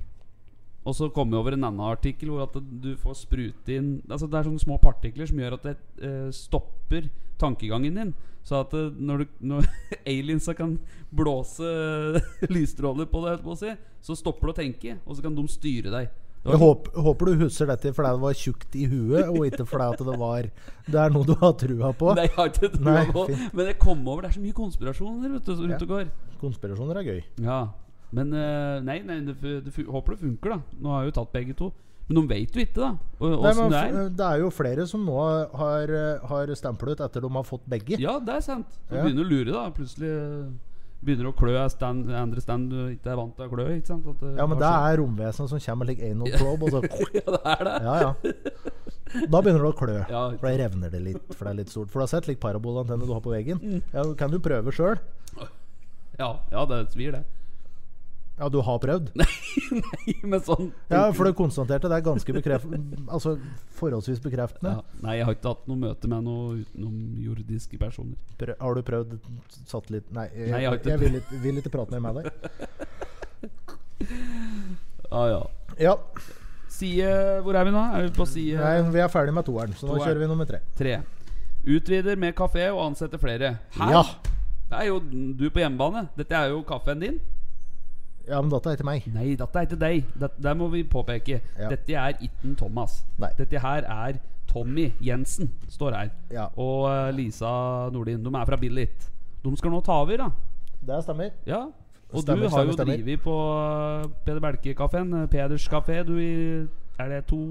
Speaker 1: Og så kom jeg over en annen artikkel hvor at du får sprute inn Altså Det er sånne små partikler som gjør at det eh, stopper tankegangen din. Så at eh, når, du, når aliensa kan blåse lysstråler på deg, holdt på å si, så stopper du å tenke, og så kan de styre deg. Det
Speaker 2: Jeg
Speaker 1: var-
Speaker 2: håper, håper du husker dette fordi det var tjukt i huet, og ikke fordi at det var Det er noe du har trua på.
Speaker 1: Nei, jeg har ikke trua
Speaker 2: Nei,
Speaker 1: på.
Speaker 2: fint.
Speaker 1: Men jeg kom over Det er så mye konspirasjoner vet du, som rundt og går.
Speaker 2: Konspirasjoner er gøy.
Speaker 1: Ja Men eh, nei, nei det, fu- det, fu- håper det funker, da. Nå har jeg jo tatt begge to. Men de vet jo ikke, da. og-
Speaker 2: Nei,
Speaker 1: Åssen
Speaker 2: men,
Speaker 1: det er.
Speaker 2: f- det er jo flere som nå har, har stemplet ut etter de har fått begge.
Speaker 1: Ja, det er sant. Du
Speaker 2: eh, Ja.
Speaker 1: begynner å lure, da. Plutselig eh, begynner å klø i stand, andre stand du ikke er vant til å klø i. ikke sant? At, eh,
Speaker 2: Ja, men det er romvesenet som kommer med like anal probe, og så
Speaker 1: Ja, det er det.
Speaker 2: Ja, ja. Da begynner det å klø.
Speaker 1: Ja.
Speaker 2: For da revner det litt, for det er litt stort. For du har sett like parabolantenne du har på
Speaker 1: Mm.
Speaker 2: veggen? Ja, kan du prøve sjøl?
Speaker 1: Ja, ja det svir, det.
Speaker 2: Ja, du har prøvd?
Speaker 1: Nei, men sånn
Speaker 2: Ja, for du konstaterte det er ganske bekreft... Altså forholdsvis bekreftende.
Speaker 1: Ja, Nei, jeg har ikke hatt noe møte med noen utenomjordiske personer.
Speaker 2: Prø har du prøvd satellitt... Nei, jeg,
Speaker 1: Nei, jeg har
Speaker 2: jeg,
Speaker 1: ikke
Speaker 2: vil, ikke, vil ikke prate mer med deg.
Speaker 1: Ja, ja.
Speaker 2: Ja,
Speaker 1: Side Hvor er vi nå? Er vi på side
Speaker 2: nei, vi er ferdig med toeren, så nå
Speaker 1: Toeren.
Speaker 2: kjører vi nummer tre.
Speaker 1: tre? Utvider med kafé og ansetter flere. Hæ?
Speaker 2: Ja.
Speaker 1: Det er jo du på hjemmebane. Dette er jo kaffen din.
Speaker 2: ja, men dette er til meg.
Speaker 1: Nei, dette er ikke deg. Det, der må vi påpeke.
Speaker 2: Ja.
Speaker 1: Dette er ikke Thomas.
Speaker 2: Nei.
Speaker 1: Dette her er Tommy Jensen, står her.
Speaker 2: Ja.
Speaker 1: Og eh, Lisa Nordin. De er fra Billit. De skal nå ta over, da.
Speaker 2: Det stemmer.
Speaker 1: Ja. Og
Speaker 2: Stemmer,
Speaker 1: du har
Speaker 2: stemmer,
Speaker 1: jo
Speaker 2: stemmer.
Speaker 1: drevet på eh, Peder Belke-kafeen. Peders kafé. Du i Er det to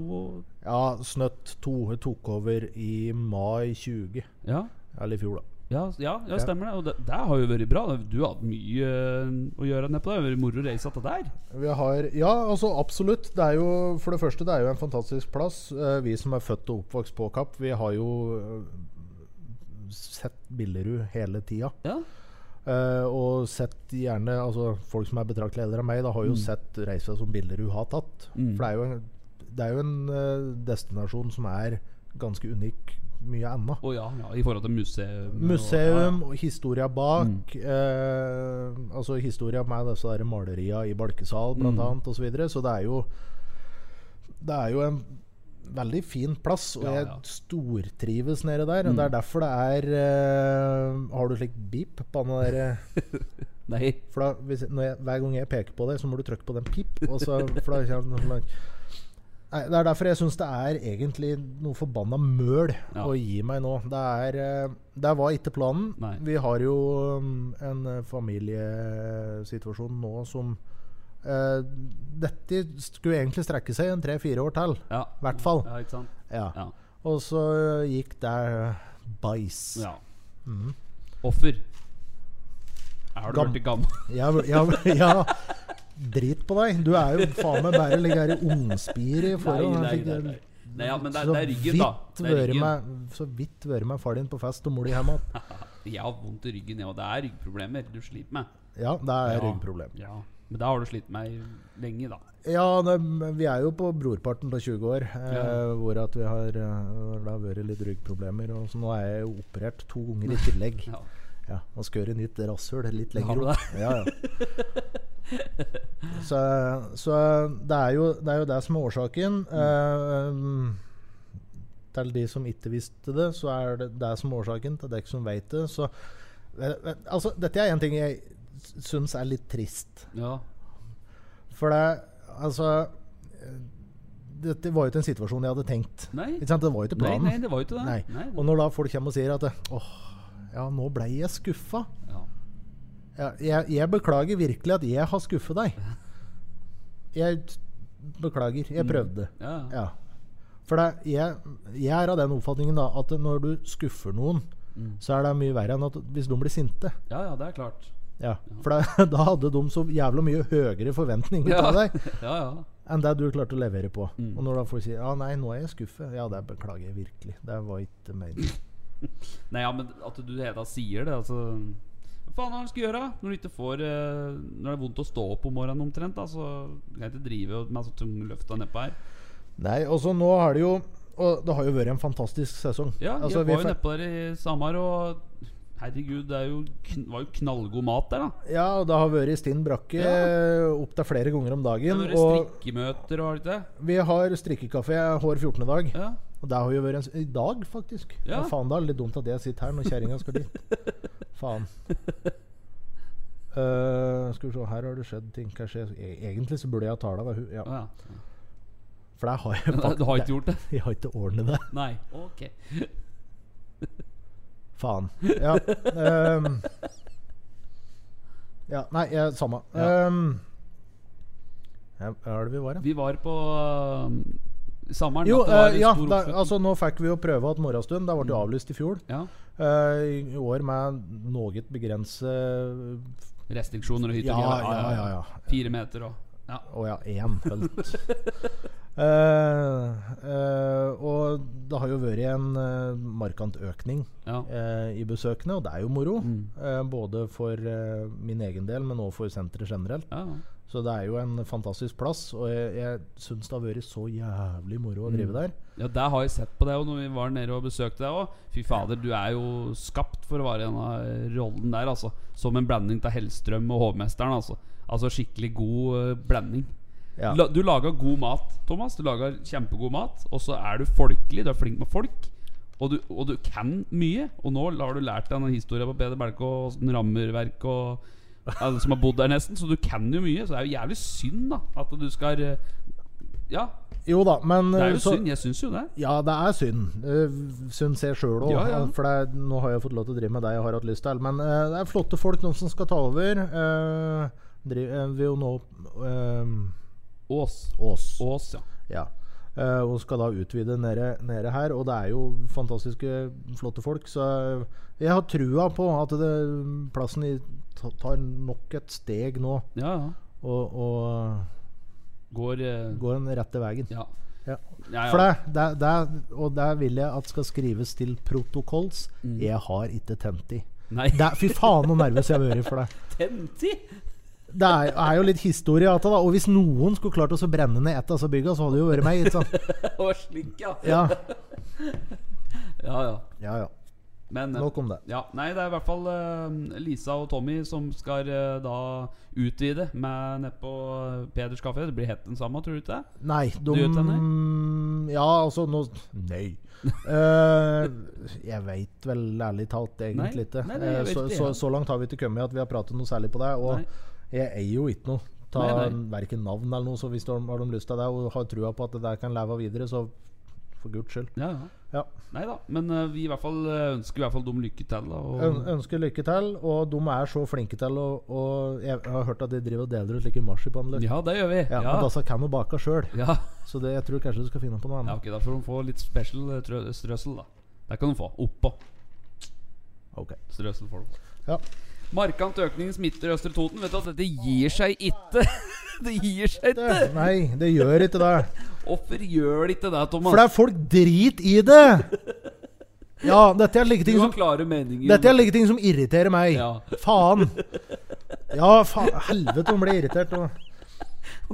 Speaker 2: Ja, Snøtt 2 tok over i mai 20.
Speaker 1: Ja.
Speaker 2: Eller i fjor, da.
Speaker 1: Ja, ja, ja stemmer det. Og det, det har jo vært bra. Du har hatt mye eh, å gjøre nedpå der. Det har vært moro å reise til der.
Speaker 2: Vi har, ja, altså absolutt. Det er jo, for det første, det er jo en fantastisk plass. Eh, Vi som er født og oppvokst på Kapp, vi har jo eh, sett Billerud hele tida.
Speaker 1: Ja.
Speaker 2: Eh, og sett gjerne altså Folk som er betraktelig eldre enn meg, da har jo sett reisa som Billerud har tatt. For det er jo en, det er jo en eh, destinasjon som er ganske unik mye ennå.
Speaker 1: Å ja, ja, i forhold til museum. og- Mm.
Speaker 2: Museum og historia bak. Eh, altså historia med disse der maleria i Balkesal bl.a.
Speaker 1: Mm.
Speaker 2: annet osv. Så, videre. så det er jo Det er jo en veldig fin plass, og
Speaker 1: Ja,
Speaker 2: jeg
Speaker 1: ja. Mm.
Speaker 2: stortrives nede der. Det er derfor det er eh, Har du slik beep på den der eh,
Speaker 1: Ja. Nei.
Speaker 2: For da, hvis, når jeg, hver gang jeg peker på det, så må du trykke på den pip, og så for da kommer det noe sånn Nei, Det er derfor jeg syns det er egentlig noe forbanna møl
Speaker 1: Ja.
Speaker 2: å gi meg nå. Det er eh, Det var ikke planen.
Speaker 1: Nei.
Speaker 2: Vi har jo um, en eh, familiesituasjon nå som eh, Dette skulle egentlig strekke seg en tre-fire år til.
Speaker 1: Ja.
Speaker 2: I hvert fall.
Speaker 1: ja, ikke sant?
Speaker 2: Ja.
Speaker 1: Ja.
Speaker 2: Og så gikk det eh, bæsj.
Speaker 1: Ja. Offer. Er du
Speaker 2: Mm. Gam-
Speaker 1: blitt gammel?
Speaker 2: Ja, ja, ja. Drit på deg. Du er jo faen meg bare ligger her i ungspiret i
Speaker 1: Nei,
Speaker 2: forhold.
Speaker 1: nei,
Speaker 2: Jeg fikk-
Speaker 1: nei, nei. Nei, ja, men det,
Speaker 2: så
Speaker 1: er- det er ryggen, da.
Speaker 2: vidt
Speaker 1: Det er
Speaker 2: vært
Speaker 1: ryggen.
Speaker 2: med- Så vidt vært med far din på fest og mor di hjemme.
Speaker 1: Jeg har vondt i ryggen, jeg, og det er ryggproblemer du sliter med.
Speaker 2: Ja, det er
Speaker 1: Ja.
Speaker 2: ryggproblem.
Speaker 1: Ja. Men det har du slitt med i lenge, da.
Speaker 2: Ja, det, men vi er jo på brorparten av 20 år, eh,
Speaker 1: Ja.
Speaker 2: hvor at vi har, eh, hvor det har vært litt ryggproblemer. Og så nå er jeg jo operert to ganger i tillegg.
Speaker 1: Ja.
Speaker 2: Ja, og skør i nytt rasshull litt
Speaker 1: Har
Speaker 2: lenger
Speaker 1: du
Speaker 2: opp. Ja, ja. Så, så det, er jo, det er jo det som er årsaken. Eh, til de som ikke visste det, så er det det som er årsaken. Til dere som vet det, så eh, eh, Altså, dette er en ting jeg syns er litt trist.
Speaker 1: ja.
Speaker 2: For det Altså eh, Dette var jo ikke en situasjon jeg hadde tenkt.
Speaker 1: Nei.
Speaker 2: Ikke sant? Det var jo ikke
Speaker 1: nei,
Speaker 2: planen.
Speaker 1: nei, det var jo ikke det.
Speaker 2: Nei.
Speaker 1: Nei,
Speaker 2: Og når da folk kommer og sier at Åh, ja, nå ble jeg skuffa.
Speaker 1: ja.
Speaker 2: Ja, jeg, jeg beklager virkelig at jeg har skuffet deg. Jeg t- beklager. Jeg prøvde.
Speaker 1: Ja, ja.
Speaker 2: Ja. For det, jeg, jeg er av den oppfatningen da at når du skuffer noen,
Speaker 1: Mm.
Speaker 2: så er det mye verre enn at hvis de blir sinte.
Speaker 1: ja, ja, det er klart.
Speaker 2: Ja. For det, da hadde de så jævla mye høyere forventninger
Speaker 1: Ja, Mm.
Speaker 2: til
Speaker 1: ja.
Speaker 2: deg
Speaker 1: ja.
Speaker 2: enn det du klarte å levere på. Og når da folk sier ja, nei, nå er jeg skuffet, ja, det beklager jeg virkelig. Det var ikke meningen.
Speaker 1: Nei, ja, men at du hele tatt sier det, altså Hva faen er det du skal gjøre? Når du ikke får eh, Når det er vondt å stå opp om morgenen omtrent, da, så kan jeg ikke drive med så tunge løfta nedpå her.
Speaker 2: Nei, altså nå har det jo Og det har jo vært en fantastisk sesong.
Speaker 1: Ja,
Speaker 2: altså,
Speaker 1: jeg
Speaker 2: vi
Speaker 1: var jo
Speaker 2: fe-
Speaker 1: nedpå der i Samar, og herregud, det er jo, kn- var jo knallgod mat der, da.
Speaker 2: ja og det har vært stinn brakke eh,
Speaker 1: Ja.
Speaker 2: opptil flere ganger om
Speaker 1: Det
Speaker 2: dagen.
Speaker 1: var
Speaker 2: Og
Speaker 1: strikkemøter og alt det.
Speaker 2: vi har strikkekafé hver 14. dag.
Speaker 1: Ja.
Speaker 2: Og det har jo vært en s I dag, faktisk.
Speaker 1: Ja.
Speaker 2: Ja. faen, det er litt dumt at jeg sitter her når kjerringa skal dit. faen. Eh, skal vi se, her har det skjedd ting. Hva skjer? E egentlig så burde jeg ha tala ved hun. Ja.
Speaker 1: Å, ja.
Speaker 2: For det har jeg
Speaker 1: Men,
Speaker 2: faktisk
Speaker 1: Du har ikke gjort det?
Speaker 2: Jeg har ikke ordnet det.
Speaker 1: Nei. Ok.
Speaker 2: Faen. Ja. ehm. ja nei, jeg, samme.
Speaker 1: Ja.
Speaker 2: Ehm. ja, hva er det vi var, da?
Speaker 1: Vi var på um, Samaren.
Speaker 2: Jo,
Speaker 1: at det var
Speaker 2: eh,
Speaker 1: en
Speaker 2: ja,
Speaker 1: stor
Speaker 2: da,
Speaker 1: oppslutning.
Speaker 2: altså nå fikk vi jo prøve at morgenstund. Det ble jo avlyst i fjor.
Speaker 1: ja.
Speaker 2: Eh, I i år med noe begrenset
Speaker 1: Restriksjoner og hytter.
Speaker 2: Ja, ja, ja. ja.
Speaker 1: Fire meter og ja.
Speaker 2: Å ja, én hølt. Eh, eh, og det har jo vært en eh, markant økning
Speaker 1: Ja.
Speaker 2: eh, i besøkende, og det er jo moro.
Speaker 1: Mm.
Speaker 2: eh, både for eh, min egen del, men også for senteret generelt.
Speaker 1: ja.
Speaker 2: Så det er jo en fantastisk plass, og jeg, jeg syns det har vært så jævlig moro å drive der.
Speaker 1: Ja, der har jeg sett på deg også når vi var nede og besøkte deg òg. Fy fader, du er jo skapt for å være i denne rollen der, altså. Som en blanding av Hellstrøm og Hovmesteren, altså. Altså skikkelig god eh, blanding.
Speaker 2: Ja.
Speaker 1: La, du lager god mat, Thomas. Du lager kjempegod mat. Og så er du folkelig, du er flink med folk. Og du, og du kan mye. Og nå har du lært deg denne historien på Peder Belke og åssen rammerverk og alle som har bodd der, nesten. Så du kan jo mye. Så det er jo jævlig synd, da, at du skal eh, Ja,
Speaker 2: Jo da, men
Speaker 1: det er
Speaker 2: eh,
Speaker 1: jo
Speaker 2: så-
Speaker 1: synd. Jeg syns jo det.
Speaker 2: Ja, det er synd. Uh, syns jeg sjøl òg.
Speaker 1: Ja, ja.
Speaker 2: For det, er- nå har jeg fått lov til å drive med det jeg har hatt lyst til. Men eh, det er flotte folk, noen som skal ta over. Uh, driv, eh, vil jo nå eh,
Speaker 1: Ås.
Speaker 2: Ås.
Speaker 1: Ås, ja.
Speaker 2: Ja. Eh, og skal da utvide nede, nede her. Og det er jo fantastiske, flotte folk. Så eh, jeg har trua på at det, plassen i, ta- tar nok et steg nå.
Speaker 1: Ja, ja.
Speaker 2: Og, og
Speaker 1: Går eh,
Speaker 2: går den rette veien.
Speaker 1: Ja.
Speaker 2: Ja.
Speaker 1: Ja, ja.
Speaker 2: For det, det, det, og det vil jeg at skal skrives til protokolls.
Speaker 1: Mm.
Speaker 2: Jeg har ikke tent i.
Speaker 1: Nei,
Speaker 2: Det, er- fy faen, så nervøs jeg har vært for det.
Speaker 1: Tenti!
Speaker 2: Det er, er jo litt historie i dette, da. Og hvis noen skulle klart å så brenne ned et av disse bygga, så hadde det jo vært meg. Ikke sant?
Speaker 1: Det var slik, ja.
Speaker 2: Ja.
Speaker 1: ja, ja.
Speaker 2: ja, ja.
Speaker 1: Men eh,
Speaker 2: Nok om det.
Speaker 1: ja, Nei, det er i hvert fall eh, Lisa og Tommy som skal eh, da utvide med nedpå Peders kafé. Det blir helt den samme, tror du ikke det?
Speaker 2: Nei, de
Speaker 1: gjør ikke
Speaker 2: Ja, altså nå Nei. Eh, jeg veit vel ærlig talt egentlig ikke.
Speaker 1: Nei, nei, jeg
Speaker 2: Eh,
Speaker 1: vet
Speaker 2: så,
Speaker 1: ikke,
Speaker 2: så,
Speaker 1: ja.
Speaker 2: så langt har vi ikke kommet at vi har pratet noe særlig på det. Og
Speaker 1: Nei.
Speaker 2: jeg eier jo ikke noe. Ta
Speaker 1: Nei,
Speaker 2: Verken navn eller noe, så hvis de har de lyst til det og har trua på at det der kan leve videre, så for guds skyld.
Speaker 1: Ja, ja.
Speaker 2: Ja.
Speaker 1: Nei da. Men eh, vi i hvert fall eh, ønsker i hvert fall dem lykke til. Da,
Speaker 2: Øn,
Speaker 1: og,
Speaker 2: ønsker lykke til, og de er så flinke til å og jeg, jeg har hørt at de driver og deler ut like marsipanløk.
Speaker 1: ja, det gjør vi.
Speaker 2: Ja,
Speaker 1: Ja.
Speaker 2: Men altså kan de bake sjøl,
Speaker 1: Ja.
Speaker 2: så det, jeg tror kanskje du skal finne på noe
Speaker 1: ja,
Speaker 2: annet.
Speaker 1: ok, Da får de få litt special eh, trø strøssel, da. Det kan de få. Oppå.
Speaker 2: Ok.
Speaker 1: Strøssel får de få.
Speaker 2: Ja.
Speaker 1: Markant økning smitter Østre Toten. Vet du at dette gir seg ikke! Det gir seg ikke!
Speaker 2: Det- Nei, det gjør ikke det.
Speaker 1: Hvorfor gjør de ikke det, Thomas?
Speaker 2: For det er folk drit i det! Ja, dette er like ting
Speaker 1: du
Speaker 2: som
Speaker 1: har klare meninger.
Speaker 2: Dette er like ting som irriterer meg.
Speaker 1: Ja.
Speaker 2: Faen. Ja, faen, helvete, hun ble irritert. Og,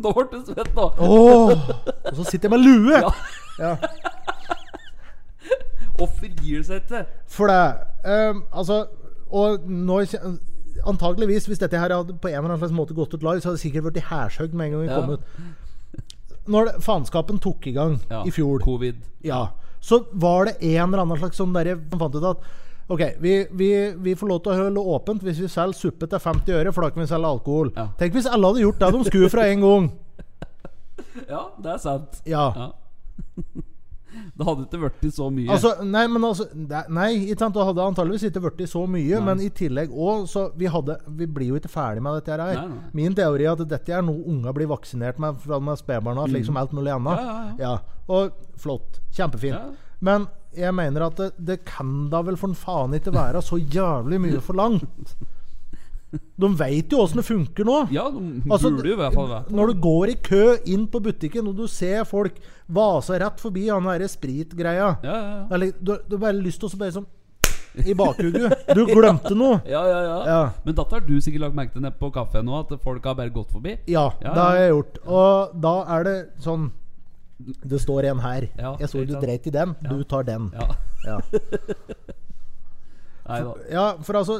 Speaker 1: Da ble du svett, da.
Speaker 2: Åh, og så sitter jeg med lue!
Speaker 1: Ja.
Speaker 2: Ja.
Speaker 1: Offer gir seg ikke.
Speaker 2: For det ehm, Altså Og nå kje- Antageligvis, hvis dette her hadde på en eller annen slags måte gått ut live, så hadde det sikkert blitt hærsøgd med en gang det
Speaker 1: Ja.
Speaker 2: kom ut. Når det, faenskapen tok i gang
Speaker 1: Ja,
Speaker 2: i fjor,
Speaker 1: Covid.
Speaker 2: ja, så var det en eller annen slags sånn derre som fant ut at OK, vi, vi, vi får lov til å holde åpent hvis vi selger suppe til 50 øre, for da kan vi selge alkohol.
Speaker 1: Ja.
Speaker 2: Tenk hvis alle hadde gjort det de skulle fra en gang.
Speaker 1: Ja, det er sant.
Speaker 2: Ja.
Speaker 1: Ja. Det hadde ikke blitt så mye.
Speaker 2: Altså, nei, men altså det- Nei, ikke sant? det hadde antageligvis ikke blitt så mye, men i tillegg òg, så vi hadde Vi blir jo ikke ferdig med dette her.
Speaker 1: Nei, nei.
Speaker 2: Min teori er at dette er noe unga blir vaksinert med fra de er spedbarna, slik som alt mulig annet.
Speaker 1: Mm. Ja, ja,
Speaker 2: Og flott. Kjempefint.
Speaker 1: Ja.
Speaker 2: Men jeg mener at det, det kan da vel for faen ikke være så jævlig mye forlangt. De veit jo åssen det funker nå.
Speaker 1: ja, de
Speaker 2: Altså,
Speaker 1: burde jo i hvert fall vært
Speaker 2: Når du går i kø inn på butikken og du ser folk vase rett forbi han derre spritgreia
Speaker 1: Ja, ja, ja.
Speaker 2: eller, du, du har bare lyst til å så bare sånn I bakhuget. Du glemte noe.
Speaker 1: Ja, ja, ja.
Speaker 2: Ja.
Speaker 1: Men dette har du sikkert lagt merke til nede på kafeen nå, at folk har bare gått forbi.
Speaker 2: Ja,
Speaker 1: Ja,
Speaker 2: det har
Speaker 1: ja.
Speaker 2: jeg gjort. Og da er det sånn Det står en her.
Speaker 1: Ja,
Speaker 2: jeg så
Speaker 1: ikke
Speaker 2: du
Speaker 1: sant?
Speaker 2: dreit i den. Du tar den.
Speaker 1: Ja.
Speaker 2: Ja.
Speaker 1: Nei da.
Speaker 2: ja, for altså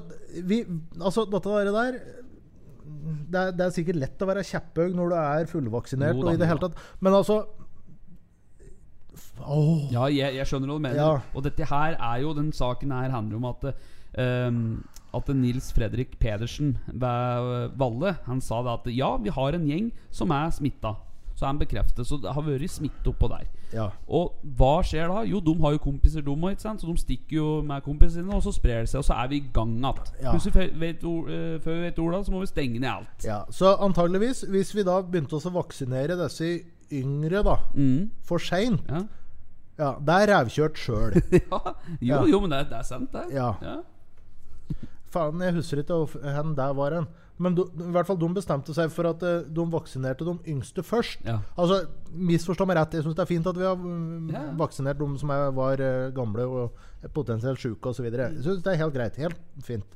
Speaker 2: vi, Altså, dette der, der det er, det er sikkert lett å være kjepphøy når du er fullvaksinert
Speaker 1: Jo da,
Speaker 2: og i det hele
Speaker 1: jo da.
Speaker 2: tatt, men altså Åh.
Speaker 1: Ja, jeg, jeg skjønner hva du mener.
Speaker 2: Ja.
Speaker 1: Og dette her er jo den saken her handler om at ehm, At Nils Fredrik Pedersen ved Valle Han sa det at ja, vi har en gjeng som er smitta. Så er han bekreftet. Så det har vært smitte oppå der.
Speaker 2: Ja.
Speaker 1: Og hva skjer da? Jo, de har jo kompiser, de òg. Så de stikker jo med kompisene sine, og så sprer det seg. Og så er vi i gang igjen.
Speaker 2: Ja.
Speaker 1: Plutselig fe- vet or- eh, Før vi vet ordet av det, så må vi stenge ned alt.
Speaker 2: ja. Så antageligvis, hvis vi da begynte oss å vaksinere disse yngre, da,
Speaker 1: Mm,
Speaker 2: for seint
Speaker 1: ja.
Speaker 2: Ja, det er rævkjørt sjøl.
Speaker 1: ja. Jo,
Speaker 2: Ja.
Speaker 1: jo, men det, er- det er sant, det.
Speaker 2: Ja.
Speaker 1: Ja.
Speaker 2: Faen, jeg husker ikke hvor der var hen. Men do- i hvert fall de bestemte seg for at eh, de vaksinerte de yngste først.
Speaker 1: Ja.
Speaker 2: Altså, Misforstå meg rett, jeg syns det er fint at vi har mm,
Speaker 1: Ja.
Speaker 2: vaksinert de som er, var eh, gamle og potensielt syke osv. Jeg syns det er helt greit. Helt fint.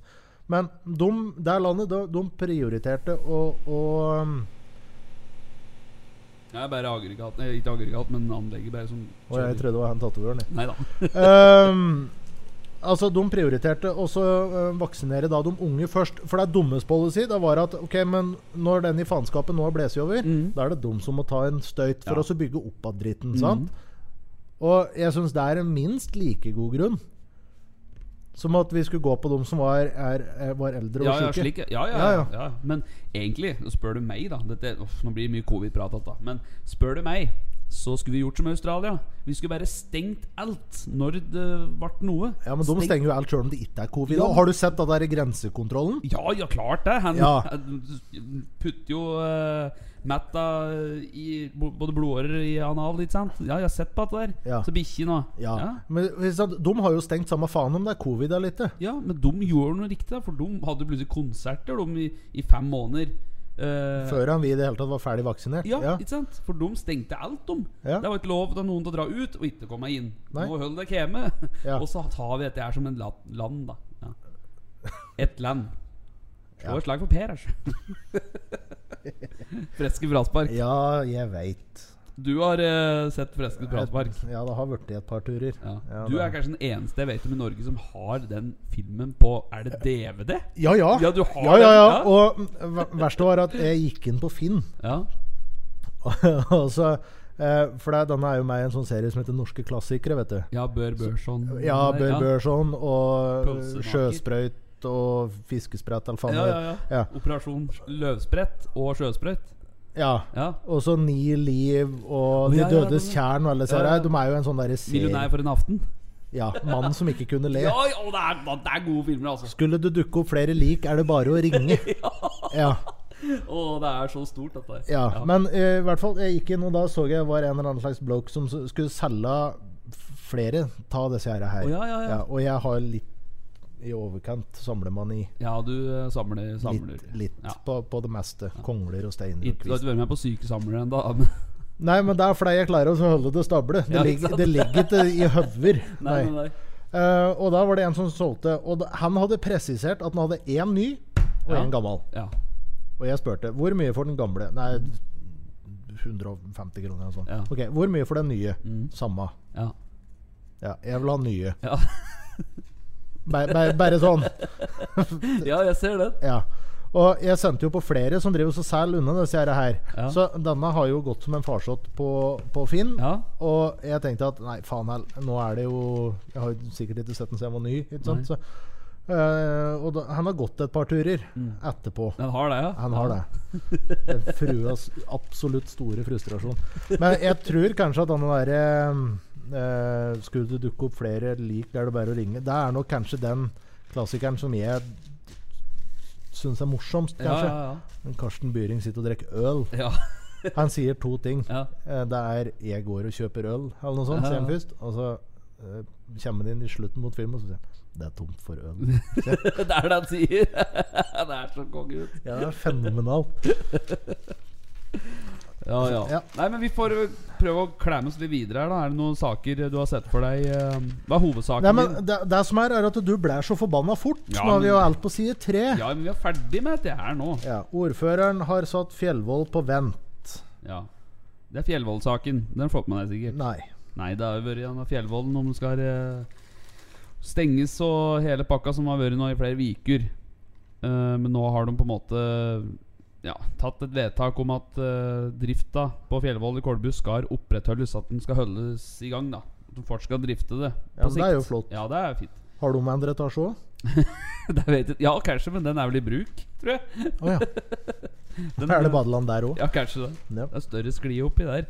Speaker 2: Men de, det landet, de, de prioriterte å, å um,
Speaker 1: Det er bare aggregat eh, Ikke aggregat, men anlegget bare sånn som
Speaker 2: Og jeg trodde det var han tatovøren, jeg.
Speaker 1: Nei da.
Speaker 2: Ehm, altså, de prioriterte også eh, vaksinere da de unge først. For det er dummes policy. Det var at ok, men når den i faenskapen nå har blåst over,
Speaker 1: Mm.
Speaker 2: da er det dem som må ta en støyt for
Speaker 1: Ja. Mm.
Speaker 2: oss å bygge opp av dritten. Sant? Og jeg syns det er en minst like god grunn som at vi skulle gå på dem som var, er, er, var eldre og
Speaker 1: Ja, ja,
Speaker 2: syke.
Speaker 1: slik, ja, ja,
Speaker 2: Ja,
Speaker 1: ja,
Speaker 2: ja.
Speaker 1: ja. Men egentlig, spør du meg, da dette, uff, Nå blir det mye covid-prat, alt da. Men spør du meg, så skulle vi gjort som Australia. Vi skulle bare stengt alt når det ble noe.
Speaker 2: Ja, men de
Speaker 1: Stengt-
Speaker 2: stenger jo alt sjøl om det ikke er covid.
Speaker 1: Ja.
Speaker 2: Og Har du sett den der grensekontrollen?
Speaker 1: Ja, ja, klart det. Han
Speaker 2: Ja.
Speaker 1: han putter jo eh, Matta i bo- både blodårer i anal, ikke sant? Ja, jeg har sett på det der.
Speaker 2: Ja.
Speaker 1: Så bikkje nå.
Speaker 2: Ja.
Speaker 1: ja.
Speaker 2: Men hvis at- de har jo stengt samme faen om det er covid eller ikke.
Speaker 1: Ja, men de gjorde noe riktig, da, for de hadde plutselig konserter de, i, i fem måneder. Eh,
Speaker 2: Før han vi i det hele tatt var ferdig vaksinert.
Speaker 1: Ja, ikke sant? For de stengte alt, de.
Speaker 2: Ja.
Speaker 1: Det var ikke lov til noen til å dra ut og ikke komme inn.
Speaker 2: Nei.
Speaker 1: Nå hold dere hjemme.
Speaker 2: Ja.
Speaker 1: Og så tar vi dette her som en la- land, da. Ja. Et land. Slå
Speaker 2: Ja.
Speaker 1: et slag for Per, altså. Freske fraspark.
Speaker 2: Ja, jeg veit.
Speaker 1: Du har eh, sett Freske fraspark.
Speaker 2: Ja, det har blitt i et par turer.
Speaker 1: Ja.
Speaker 2: Ja,
Speaker 1: Du
Speaker 2: det-
Speaker 1: er kanskje den eneste jeg vet om i Norge som har den filmen på Er det DVD?
Speaker 2: Ja, ja.
Speaker 1: Ja, du har
Speaker 2: ja, ja,
Speaker 1: den,
Speaker 2: ja.
Speaker 1: ja.
Speaker 2: Og ver- verste var at jeg gikk inn på Finn.
Speaker 1: Ja.
Speaker 2: og så, eh, for det, denne er jo med i en sånn serie som heter Norske klassikere, vet du.
Speaker 1: Ja, Bør Børson.
Speaker 2: Ja, Bør Børson og
Speaker 1: Pølsemaker.
Speaker 2: sjøsprøyt og fiskesprett, eller faen.
Speaker 1: Ja, ja,
Speaker 2: det-
Speaker 1: ja.
Speaker 2: ja.
Speaker 1: Operasjon Løvsprett og Sjøsprøyt.
Speaker 2: ja.
Speaker 1: Ja.
Speaker 2: Og så Ni liv
Speaker 1: Å,
Speaker 2: og De
Speaker 1: ja, ja,
Speaker 2: dødes
Speaker 1: den-
Speaker 2: tjern og alle disse
Speaker 1: Ja, ja.
Speaker 2: her. De er jo en sånn derre
Speaker 1: Millionær
Speaker 2: serie.
Speaker 1: for en aften.
Speaker 2: Ja, Mannen som ikke kunne le.
Speaker 1: Ja, ja det, er, det er gode filmer, altså.
Speaker 2: Skulle det dukke opp flere lik, er det bare å ringe. Ja,
Speaker 1: Å, det er så stort, dette.
Speaker 2: ja. Men eh, i hvert fall, jeg gikk inn, og da så jeg var en eller annen slags bloke som s- skulle selge f- flere av disse her. her.
Speaker 1: Å, ja, ja, ja.
Speaker 2: og jeg har litt i overkant samlemani.
Speaker 1: ja du eh, samler, samler.
Speaker 2: Litt, litt
Speaker 1: Ja.
Speaker 2: på, på det meste. Kongler og steiner. og
Speaker 1: Ikke, du har
Speaker 2: kvist.
Speaker 1: ikke vært med på Sykesamlere ennå?
Speaker 2: Nei, men det er fordi jeg klarer å holde det stable. Det,
Speaker 1: Ja, ikke
Speaker 2: ligger,
Speaker 1: sant?
Speaker 2: det ligger ikke i høver.
Speaker 1: Nei, nei, nei.
Speaker 2: Eh, og da var det en som solgte. Og da, han hadde presisert at han hadde én ny og
Speaker 1: Ja.
Speaker 2: én gammel.
Speaker 1: Ja.
Speaker 2: Og jeg spurte hvor mye får den gamle Nei, 150 kroner eller noe sånt.
Speaker 1: Ja. Mm.
Speaker 2: Ok, hvor mye får den nye? Samme.
Speaker 1: Ja.
Speaker 2: Ja, jeg vil ha nye.
Speaker 1: Ja.
Speaker 2: Bare, bare, bare sånn.
Speaker 1: ja, jeg ser den.
Speaker 2: Ja. Og jeg sendte jo på flere som driver og selger unna disse her. her.
Speaker 1: Ja.
Speaker 2: Så denne har jo gått som en farsott på, på Finn.
Speaker 1: Ja.
Speaker 2: Og jeg tenkte at nei, faen hell, nå er det jo Jeg har jo sikkert ikke sett den siden jeg var ny. Ikke sant? Så, eh, og da, han har gått et par turer
Speaker 1: Mm.
Speaker 2: etterpå.
Speaker 1: Den har det, ja.
Speaker 2: Han har det. Den fruas absolutt store frustrasjon. Men jeg tror kanskje at denne derre eh, Skulle det dukke opp flere lik, er det bare å ringe. Det er nok kanskje den klassikeren som jeg syns er morsomst,
Speaker 1: Ja,
Speaker 2: kanskje.
Speaker 1: ja,
Speaker 2: Karsten Byring sitter og drikker øl.
Speaker 1: ja.
Speaker 2: Han sier to ting.
Speaker 1: Ja.
Speaker 2: Eh, Det er 'jeg går og kjøper øl', eller noe sånt,
Speaker 1: Ja,
Speaker 2: sier han
Speaker 1: ja.
Speaker 2: først. Og så eh, kommer han inn i slutten mot filmen og så sier han 'det er tomt for øl'.
Speaker 1: ja. Det er det han sier. det er så konge ut.
Speaker 2: Ja, det er fenomenalt.
Speaker 1: Ja, ja.
Speaker 2: Ja.
Speaker 1: Nei, men vi får ø, prøve å klemme oss litt videre her, da. Er det noen saker du har sett for deg? ø, Hva er hovedsaken
Speaker 2: Nei, men
Speaker 1: din?
Speaker 2: det, det som er, er at du blær så forbanna fort.
Speaker 1: Ja,
Speaker 2: Nå er vi jo
Speaker 1: men-
Speaker 2: alt på side tre. Ja.
Speaker 1: Ja, men vi er ferdig med dette her nå.
Speaker 2: ordføreren har satt Fjellvoll på vent.
Speaker 1: Ja. Det er Fjellvoll-saken. Den har du fått med deg, sikkert.
Speaker 2: Nei.
Speaker 1: Nei, det har jo vært denne Fjellvollen om den skal eh, stenges og hele pakka som har vært nå i flere uker. Eh, men nå har de på en måte ja, tatt et vedtak om at eh, drifta på Fjellvoll i Kolbu skal opprettholdes. At den skal holdes i gang. da At de fortsatt skal drifte det.
Speaker 2: Ja, men det er jo flott.
Speaker 1: Ja, det er fint.
Speaker 2: Har de endret etasje òg?
Speaker 1: det vet jeg. Ja, kanskje, men den er vel i bruk, tror jeg.
Speaker 2: Å ja.
Speaker 1: Den
Speaker 2: Er det badeland der òg?
Speaker 1: Ja, kanskje det.
Speaker 2: Ja.
Speaker 1: Det er større skli oppi der.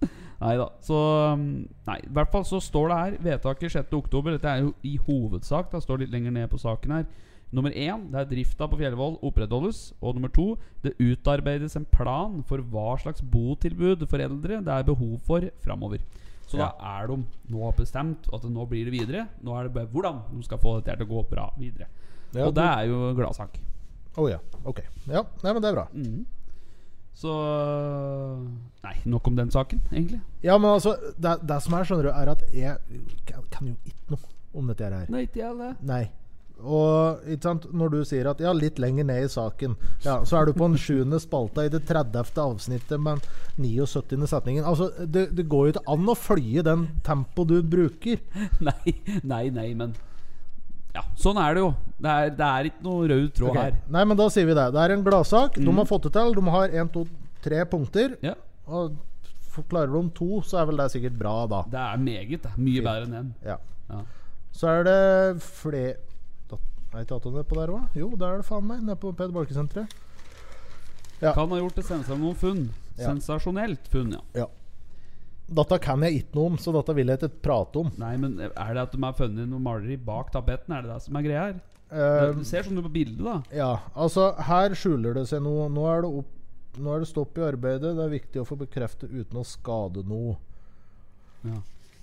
Speaker 1: nei da. Så um, Nei, i hvert fall så står det her vedtaket 6.10. Dette er jo i hovedsak. Det står litt lenger ned på saken her. Nummer én, det er drifta på Fjellvoll opprettholdes. Og nummer to, det utarbeides en plan for hva slags botilbud for eldre det er behov for framover. Så da er de nå bestemt at nå blir det videre. Nå er det bare hvordan de skal få dette her til å gå bra videre.
Speaker 2: Ja,
Speaker 1: og det er jo en gladsak.
Speaker 2: Å ja. Ok. Ja, Nei, men det er bra.
Speaker 1: Så Nei, nok om den saken, egentlig.
Speaker 2: Ja, men altså, det, det som er, skjønner du, er at jeg kan- kan jo ikke noe om dette her.
Speaker 1: Nei, ikke jeg det.
Speaker 2: Nei. Og ikke sant, når du sier at ja, litt lenger ned i saken, ja, så er du på den sjuende spalta i det 30. avsnittet, men 79. setningen Altså, det, det går jo ikke an å følge den tempo du bruker.
Speaker 1: Nei, nei, nei, men Ja, sånn er det jo. Det er, det er ikke noe rød tråd
Speaker 2: Ok.
Speaker 1: her. Mm.
Speaker 2: Nei, men da sier vi det. Det er en gladsak. De har fått det til. De har én, to, tre punkter.
Speaker 1: Ja,
Speaker 2: Og f- klarer de to, så er vel det sikkert bra, da.
Speaker 1: Det er meget. Da. Mye bedre enn den.
Speaker 2: Ja.
Speaker 1: Ja.
Speaker 2: Så er det flere Er ikke Aton nedpå der òg? Jo, der er det faen meg. Nede på Peder Barkesenteret. Ja.
Speaker 1: Kan ha gjort det sensa noen funn.
Speaker 2: Ja.
Speaker 1: Sensasjonelt funn, ja.
Speaker 2: Ja. Dette kan jeg ikke noe om, så dette vil jeg ikke prate om.
Speaker 1: Nei, men er det at de har funnet noe maleri bak tapetten? Er det det som er greia her?
Speaker 2: Eh,
Speaker 1: det ser sånn ut på bildet, da.
Speaker 2: ja, altså Her skjuler det seg noe. Nå er det, opp, nå er det stopp i arbeidet. Det er viktig å få bekreftet uten å skade noe.
Speaker 1: Ja.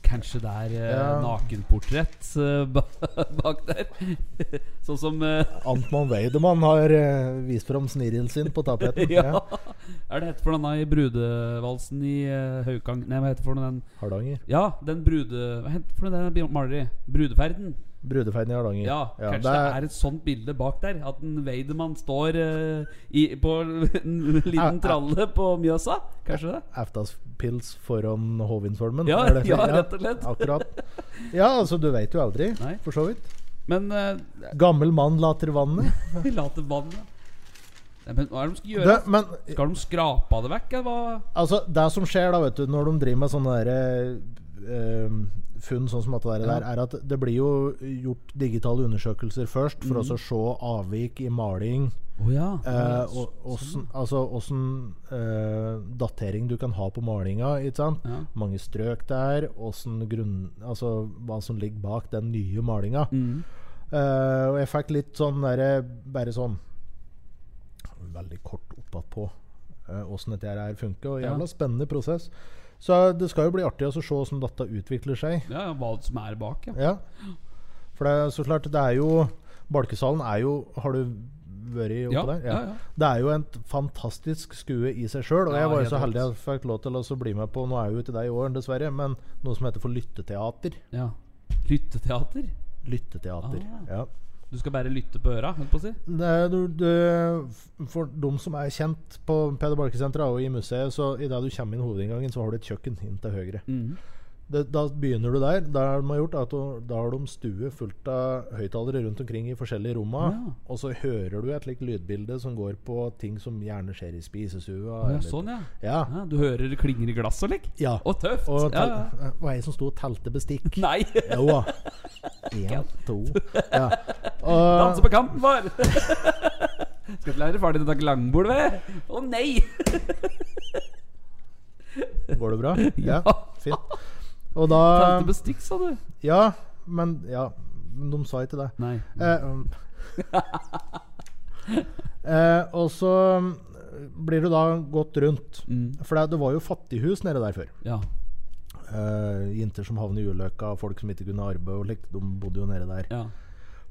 Speaker 1: Kanskje det er eh,
Speaker 2: Ja.
Speaker 1: nakenportrett eh, ba- bak der? sånn som eh,
Speaker 2: Antmann Weidemann har eh, vist fram snirren sin på tapeten.
Speaker 1: ja. Er det hette for denne i brudevalsen i eh, Haukang Nei, hva heter for den
Speaker 2: Hardanger.
Speaker 1: Ja, den brude... Hva heter for den Bjørn Maleri? Brudeferden?
Speaker 2: Brudeferden i Hardanger.
Speaker 1: Ja, kanskje det er, et sånt bilde bak der? At en Weidemann står eh, i, på en
Speaker 2: Er- er-
Speaker 1: liten tralle på Mjøsa? Kanskje det?
Speaker 2: Eftaspils foran Hovinformen.
Speaker 1: Ja,
Speaker 2: er det-
Speaker 1: ja, rett og slett.
Speaker 2: Akkurat. Ja, altså, du veit jo aldri,
Speaker 1: Nei.
Speaker 2: for så vidt.
Speaker 1: Men eh,
Speaker 2: Gammel mann later vannet.
Speaker 1: vi later vannet Nei, Men hva er det de skal gjøre?
Speaker 2: Det, men
Speaker 1: Skal de skrape det vekk, eller hva?
Speaker 2: Altså, det som skjer da, vet du, når de driver med sånne der, eh, funn sånn som dette der,
Speaker 1: Ja.
Speaker 2: der, er at det blir jo gjort digitale undersøkelser først for også å se avvik i maling.
Speaker 1: Å Mm. ja. sånn.
Speaker 2: Eh, og, åssen- altså åssen eh, datering du kan ha på malinga. Ikke sant?
Speaker 1: Ja.
Speaker 2: Mange strøk der. Åssen grunn... Altså hva som ligger bak den nye malinga.
Speaker 1: Mm.
Speaker 2: Eh, og jeg fikk litt sånn derre Bare sånn Veldig kort oppatpå åssen dette her funker. Og
Speaker 1: Ja.
Speaker 2: jævla spennende prosess. Så det skal jo bli artig å se åssen dette utvikler seg.
Speaker 1: Ja, ja, hva som er bak, ja.
Speaker 2: Ja. For det er så klart, det er jo Balkesalen er jo Har du vært oppe
Speaker 1: Ja,
Speaker 2: der?
Speaker 1: ja, ja.
Speaker 2: Det er jo et fantastisk skue i seg sjøl. Og
Speaker 1: Ja,
Speaker 2: jeg var
Speaker 1: helt
Speaker 2: jo så
Speaker 1: rått.
Speaker 2: heldig jeg fikk lov til å så bli med på Nå er jeg jo ikke det i år, dessverre, men noe som heter for lytteteater.
Speaker 1: ja. Lytteteater?
Speaker 2: Lytteteater.
Speaker 1: Ah.
Speaker 2: Ja.
Speaker 1: Du skal bare lytte på øra, holdt på å si?
Speaker 2: Nei, du, du, for de som er kjent på Peder Barkesenteret og i museet, så idet du kommer inn hovedinngangen, så har du et kjøkken inn til høyre.
Speaker 1: Mhm.
Speaker 2: Det, da begynner du der. Da har de har gjort er at du- da har de stue fullt av høyttalere rundt omkring i forskjellige romma,
Speaker 1: Ja.
Speaker 2: og så hører du et slikt lydbilde som går på ting som gjerne skjer i
Speaker 1: Å,
Speaker 2: spisestua.
Speaker 1: ja,
Speaker 2: eller-
Speaker 1: sånn, ja.
Speaker 2: ja.
Speaker 1: ja. Du hører det klinger i glass og lik?
Speaker 2: Ja.
Speaker 1: Og tøft!
Speaker 2: Og
Speaker 1: ja,
Speaker 2: tel,
Speaker 1: ja.
Speaker 2: det var jeg som sto og telte bestikk.
Speaker 1: Nei!
Speaker 2: Jo da. Én, to ja.
Speaker 1: Danse
Speaker 2: Og,
Speaker 1: på kanten vår! Skal ikke lære ferdig dette langbord, ved? Å nei!
Speaker 2: Går det bra? Ja, Um.
Speaker 1: Ja.
Speaker 2: fint. Og da
Speaker 1: Tenkte bestikk, sa du?
Speaker 2: Ja, men Ja, men de sa ikke det.
Speaker 1: Nei.
Speaker 2: Eh, um. eh, og så um, blir du da gått rundt.
Speaker 1: Mm.
Speaker 2: For det, det var jo fattighus nede der før.
Speaker 1: Ja.
Speaker 2: Eh, jenter som havnet i ulykka, folk som ikke kunne arbeide og likt, de bodde jo nede der.
Speaker 1: Ja,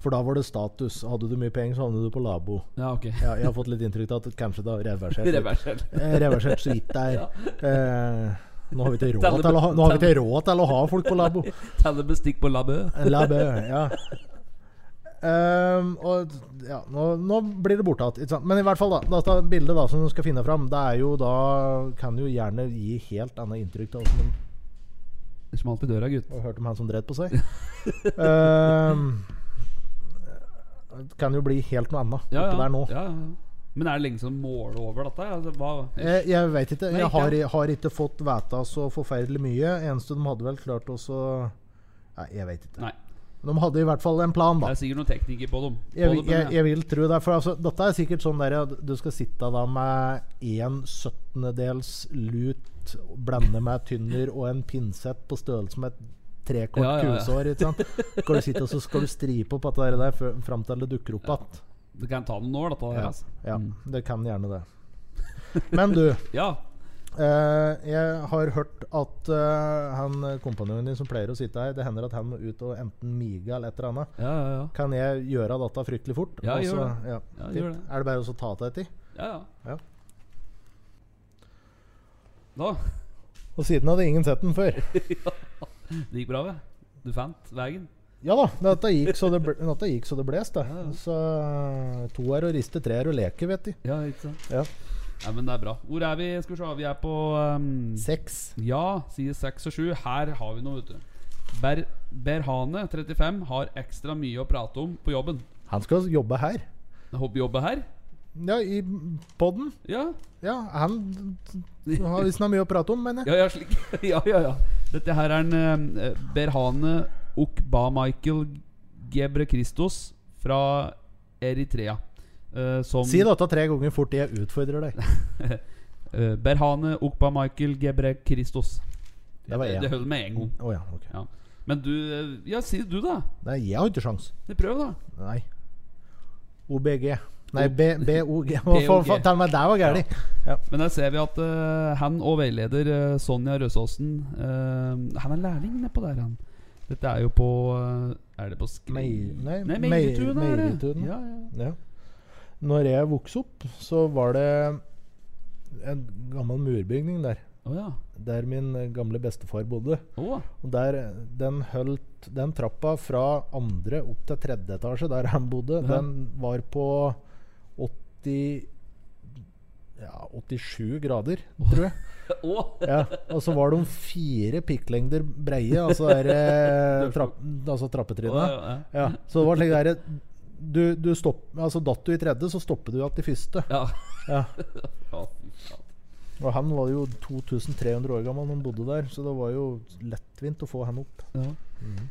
Speaker 2: For da var det status. Hadde du mye penger, så havnet du på labo.
Speaker 1: ja ok.
Speaker 2: Ja, jeg har fått litt inntrykk av at kanskje det har reversert. litt.
Speaker 1: Reversell.
Speaker 2: Eh, reversert så vidt der. Eh, nå har vi ikke råd
Speaker 1: Telle-
Speaker 2: til å ha, nå har vi ikke råd til å ha folk på labo.
Speaker 1: Teller bestikk på labø.
Speaker 2: Labø, ja. Ehm, og ja, nå, nå blir det borte igjen, ikke sant. Men i hvert fall, da. Dette bildet da som du skal finne fram, det er jo da Kan jo gjerne gi helt annet inntrykk av hvordan
Speaker 1: Det smalt i døra, gutt.
Speaker 2: de hørte om han som dreit på seg. Ehm, det kan jo bli helt noe annet
Speaker 1: Ja,
Speaker 2: oppi
Speaker 1: ja.
Speaker 2: der nå.
Speaker 1: Ja, ja. Men er det lenge som måler over dette? Altså, hva?
Speaker 2: Jeg, Eh, jeg veit ikke.
Speaker 1: Nei,
Speaker 2: Jeg
Speaker 1: ikke.
Speaker 2: har, har ikke fått vite så forferdelig mye. Eneste de hadde vel klart også Nei, jeg veit ikke.
Speaker 1: Nei.
Speaker 2: De hadde i hvert fall en plan,
Speaker 1: Det
Speaker 2: da.
Speaker 1: er sikkert noen teknikker på dem. På
Speaker 2: Jeg, vil-
Speaker 1: dem,
Speaker 2: jeg,
Speaker 1: ja.
Speaker 2: jeg vil tro det. For altså, dette er sikkert sånn der at du skal sitte da med en syttendedels lut, blande med tynner og en pinsett på størrelse med et trekort
Speaker 1: Ja, ja, ja.
Speaker 2: kusår. Ikke sant? Skal du sitte og så skal du stripe opp dette der før- fram til det dukker opp igjen.
Speaker 1: Det kan ta noen år, dette. der,
Speaker 2: Ja,
Speaker 1: Altså.
Speaker 2: ja, det kan gjerne det. Men du.
Speaker 1: Ja.
Speaker 2: Eh, jeg har hørt at eh, han eh, kompanjongen din som pleier å sitte her, det hender at han må ut og enten mige eller et eller annet.
Speaker 1: Ja, ja, ja.
Speaker 2: Kan jeg gjøre dette fryktelig fort?
Speaker 1: Ja,
Speaker 2: Og
Speaker 1: gjør
Speaker 2: så- Ja,
Speaker 1: Ja,
Speaker 2: fint.
Speaker 1: gjør det.
Speaker 2: Er det bare å så ta av deg tid?
Speaker 1: ja, ja.
Speaker 2: Ja.
Speaker 1: Da.
Speaker 2: Og siden hadde ingen sett den før.
Speaker 1: Det gikk bra, vel? Du fant veien?
Speaker 2: Ja da, dette gikk så det, ble, dette gikk så det blest, det.
Speaker 1: Ja, ja.
Speaker 2: Så eh, to er å riste, tre er å leke, vet de.
Speaker 1: Ja, ikke sant?
Speaker 2: Ja.
Speaker 1: Nei, men det er bra. Hvor er vi? Skal vi se, vi er på ehm,
Speaker 2: Seks.
Speaker 1: Ja, sier 6 og 7. Her har vi noe, vet du. Ber Berhane, 35, har ekstra mye å prate om på jobben.
Speaker 2: Han skal jobbe her.
Speaker 1: Hobbyjobbe her?
Speaker 2: Ja, i podden.
Speaker 1: Ja.
Speaker 2: Ja, han har visst noe mye å prate om, mener jeg.
Speaker 1: Ja, ja, slik. ja, ja, ja. Dette her er en eh, Berhane Okba-Michael Gebre Christos fra Eritrea. eh, som
Speaker 2: Si dette tre ganger fort, jeg utfordrer deg.
Speaker 1: eh, Berhane Okba-Michael Gebre Christos.
Speaker 2: Det var Mm.
Speaker 1: Det
Speaker 2: én.
Speaker 1: holder med en gang.
Speaker 2: Å ja, ok.
Speaker 1: Ja. Men du eh, Ja, si det du, da.
Speaker 2: Nei, jeg har ikke sjans.
Speaker 1: Prøv, da.
Speaker 2: Nei. OBG. Nei, B- BOG. Hva
Speaker 1: BOG.
Speaker 2: faen- faen, Tell meg, der var gærent. Ja.
Speaker 1: Men der ser vi at eh, han og veileder eh, Sonja Røsåsen eh, Han er lærling nedpå der, han. Dette er jo på eh, Er det på Skri...
Speaker 2: Mei- nei,
Speaker 1: nei
Speaker 2: Mei-
Speaker 1: Meiretun er det.
Speaker 2: Meiretun.
Speaker 1: Ja, ja.
Speaker 2: Ja. Når jeg vokste opp, så var det en gammel murbygning der.
Speaker 1: Å ja.
Speaker 2: Der min eh, gamle bestefar bodde.
Speaker 1: Å,
Speaker 2: Og der eh, Den holdt Den trappa fra andre opp til tredje etasje, der han bodde,
Speaker 1: Ja.
Speaker 2: den var på 80 Ja, 87 grader, tror jeg.
Speaker 1: Å,
Speaker 2: Ja, og så var de fire pikklengder breie, altså, der, eh, trapp, altså
Speaker 1: å,
Speaker 2: trappetrinnet.
Speaker 1: ja, ja.
Speaker 2: Ja, så det var slik der du, du stopp, altså, Datt du i tredje, så stoppet du igjen i første.
Speaker 1: Ja.
Speaker 2: Ja.
Speaker 1: Å, fy faen.
Speaker 2: Og han var jo 2300 år gammel når han bodde der, så det var jo lettvint å få han opp.
Speaker 1: Ja. Mhm.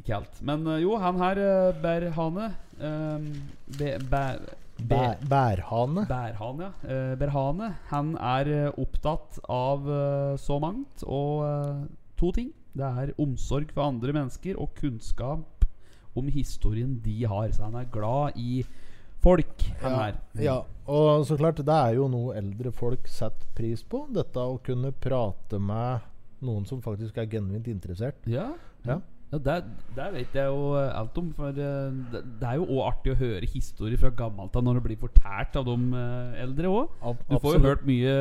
Speaker 1: Ikke helt. Men eh, jo, han her, eh, Berhane eh, Be, bær,
Speaker 2: Bæ, bærhane.
Speaker 1: Bærhane, ja. Eh, Berhane. Han er eh, opptatt av eh, så mangt, og eh, to ting. Det er omsorg for andre mennesker og kunnskap om historien de har. Så han er glad i folk, han
Speaker 2: Ja,
Speaker 1: her.
Speaker 2: ja, og så klart, det er jo noe eldre folk setter pris på. Dette å kunne prate med noen som faktisk er genuint interessert.
Speaker 1: Ja,
Speaker 2: Ja.
Speaker 1: ja der, der vet jeg jo eh, alt om. For eh, det, det er jo òg artig å høre historier fra gammelt av når det blir fortalt av de eh, eldre òg.
Speaker 2: Ab-
Speaker 1: Du får jo
Speaker 2: absolutt.
Speaker 1: hørt mye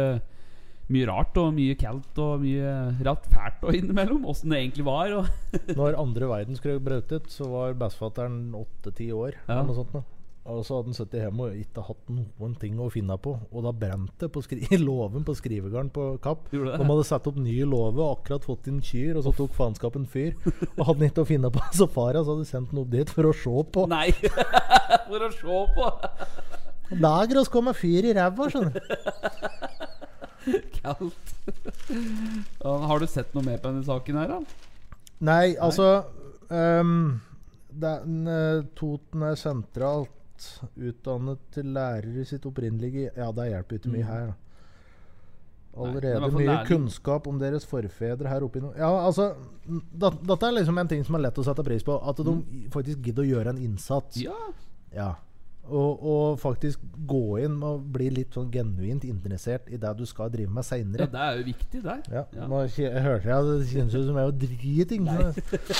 Speaker 1: mye rart og mye kaldt og mye rart fælt og innimellom. Åssen det egentlig var. Og
Speaker 2: Når andre verdenskrig brøt ut, så var bestefatteren åtte-ti år.
Speaker 1: Ja.
Speaker 2: Eller noe sånt noe. Og så hadde han sittet hjemme og ikke hatt noen ting å finne på. Og da brant det på skri i låven på skrivegarden på Kapp.
Speaker 1: Gjorde det?
Speaker 2: De hadde satt opp ny låve og akkurat fått inn kyr, og så tok faenskapen fyr. Og hadde han ikke å finne på, så fara så hadde sendt han opp dit for å se på.
Speaker 1: Nei! For å se på!
Speaker 2: Lager oss gå med fyr i ræva, skjønner du.
Speaker 1: Kaldt. Ja, Har du sett noe mer på denne saken her, da?
Speaker 2: Nei, altså ehm, det er en, eh, Toten er sentralt utdannet til lærer i sitt opprinnelige Ja, det hjelper ikke mye her. da.
Speaker 1: Mm. Nei, det er i
Speaker 2: Allerede
Speaker 1: hvert fall
Speaker 2: mye
Speaker 1: lærling.
Speaker 2: kunnskap om deres forfedre her oppe i nord... Ja, altså, n- dat, dette er liksom en ting som er lett å sette pris på. At de faktisk gidder å gjøre en innsats.
Speaker 1: Mm. Ja.
Speaker 2: Ja. Og, og faktisk gå inn og bli litt sånn genuint interessert i det du skal drive med
Speaker 1: ja,
Speaker 2: seinere.
Speaker 1: det er jo viktig, det.
Speaker 2: Ja,
Speaker 1: Ja.
Speaker 2: nå kje- jeg hørte jeg Det kjennes ut som jeg var driting.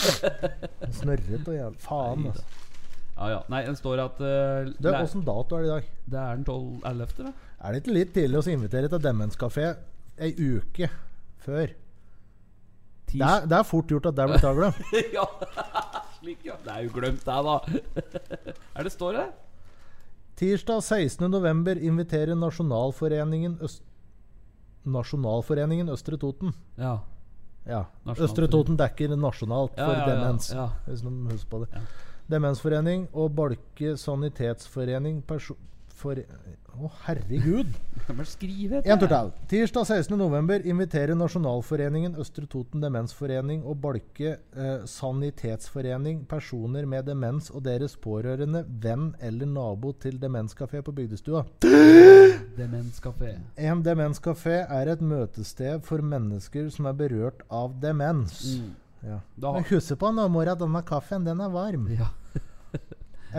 Speaker 2: Snørret og jævlig Faen,
Speaker 1: Nei,
Speaker 2: altså.
Speaker 1: Ja, ja. Nei, det står at eh,
Speaker 2: Du,
Speaker 1: lær-
Speaker 2: Åssen dato er det i dag?
Speaker 1: det er den 12 11., da.
Speaker 2: Er det ikke litt tidlig å så invitere til demenskafé ei uke før? Det er, det er fort gjort at det blir tagla.
Speaker 1: ja. Slik, ja. Det er jo glemt, det, da. er det står det?
Speaker 2: Tirsdag 16.11. inviterer Nasjonalforeningen Øst... Nasjonalforeningen Østre Toten.
Speaker 1: Ja.
Speaker 2: Ja.
Speaker 1: Nasjonalforening.
Speaker 2: Østre Toten dekker nasjonalt
Speaker 1: Ja,
Speaker 2: for
Speaker 1: ja, ja,
Speaker 2: demens.
Speaker 1: ja.
Speaker 2: Hvis noen husker på det. Demensforening og Balke sanitetsforening perso... For... Å, herregud!
Speaker 1: Kan bare skrive
Speaker 2: En tur til. Tirsdag 16.11. inviterer Nasjonalforeningen, Østre Toten demensforening og Balke eh, sanitetsforening personer med demens og deres pårørende, venn eller nabo til demenskafé på Bygdestua.
Speaker 1: Demenskafé.
Speaker 2: En demenskafé er et møtested for mennesker som er berørt av demens. Ja.
Speaker 1: Mm. Da-
Speaker 2: Men husk på nå, mor, at denne kaffen den er varm.
Speaker 1: Ja.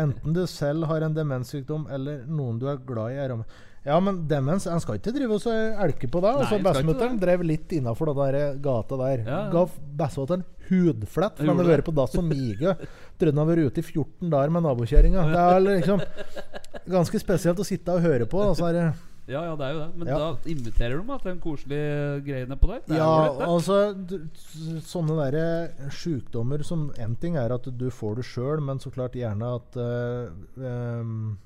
Speaker 2: Enten du selv har en demenssykdom eller noen du er glad i. er om- Ja, men demens En skal ikke drive og så elke på det. Altså,
Speaker 1: en skal ikke
Speaker 2: Bestemutteren drev litt innafor den der gata der.
Speaker 1: Ja, ja.
Speaker 2: Ga bestemutteren hudflett for han
Speaker 1: Gjorde
Speaker 2: hadde vært på dass og mige. Trodde han hadde vært ute i 14 dager med nabokjerringa. Det er liksom ganske spesielt å sitte og høre på. Altså, er det
Speaker 1: ja, ja, det er jo det. Men
Speaker 2: Ja.
Speaker 1: da inviterer du meg til den koselige greiene på der. Det er
Speaker 2: Ja,
Speaker 1: jo litt det.
Speaker 2: altså d- s- Sånne derre sjukdommer som En ting er at du får det sjøl, men så klart gjerne at eh, em,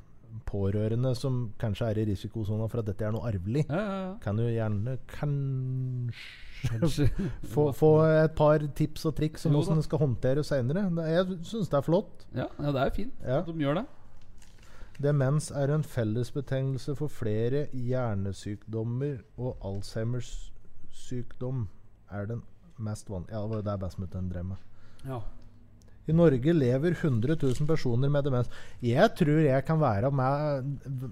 Speaker 2: pårørende som kanskje er i risikosona for at dette er noe arvelig,
Speaker 1: Ja, ja, ja.
Speaker 2: kan jo gjerne kanskje
Speaker 1: Kanskje.
Speaker 2: få, få et par tips og triks om
Speaker 1: Jo da.
Speaker 2: hvordan det skal håndteres seinere. Jeg syns det er flott.
Speaker 1: Ja, ja, det er jo fint
Speaker 2: Ja.
Speaker 1: at de gjør det.
Speaker 2: Demens er en fellesbetegnelse for flere hjernesykdommer, og Alzheimers sykdom er den mest vanlige. Ja, det var jo der Basmutten drev med.
Speaker 1: Ja.
Speaker 2: I Norge lever 100 000 personer med demens. Jeg tror jeg kan være, med,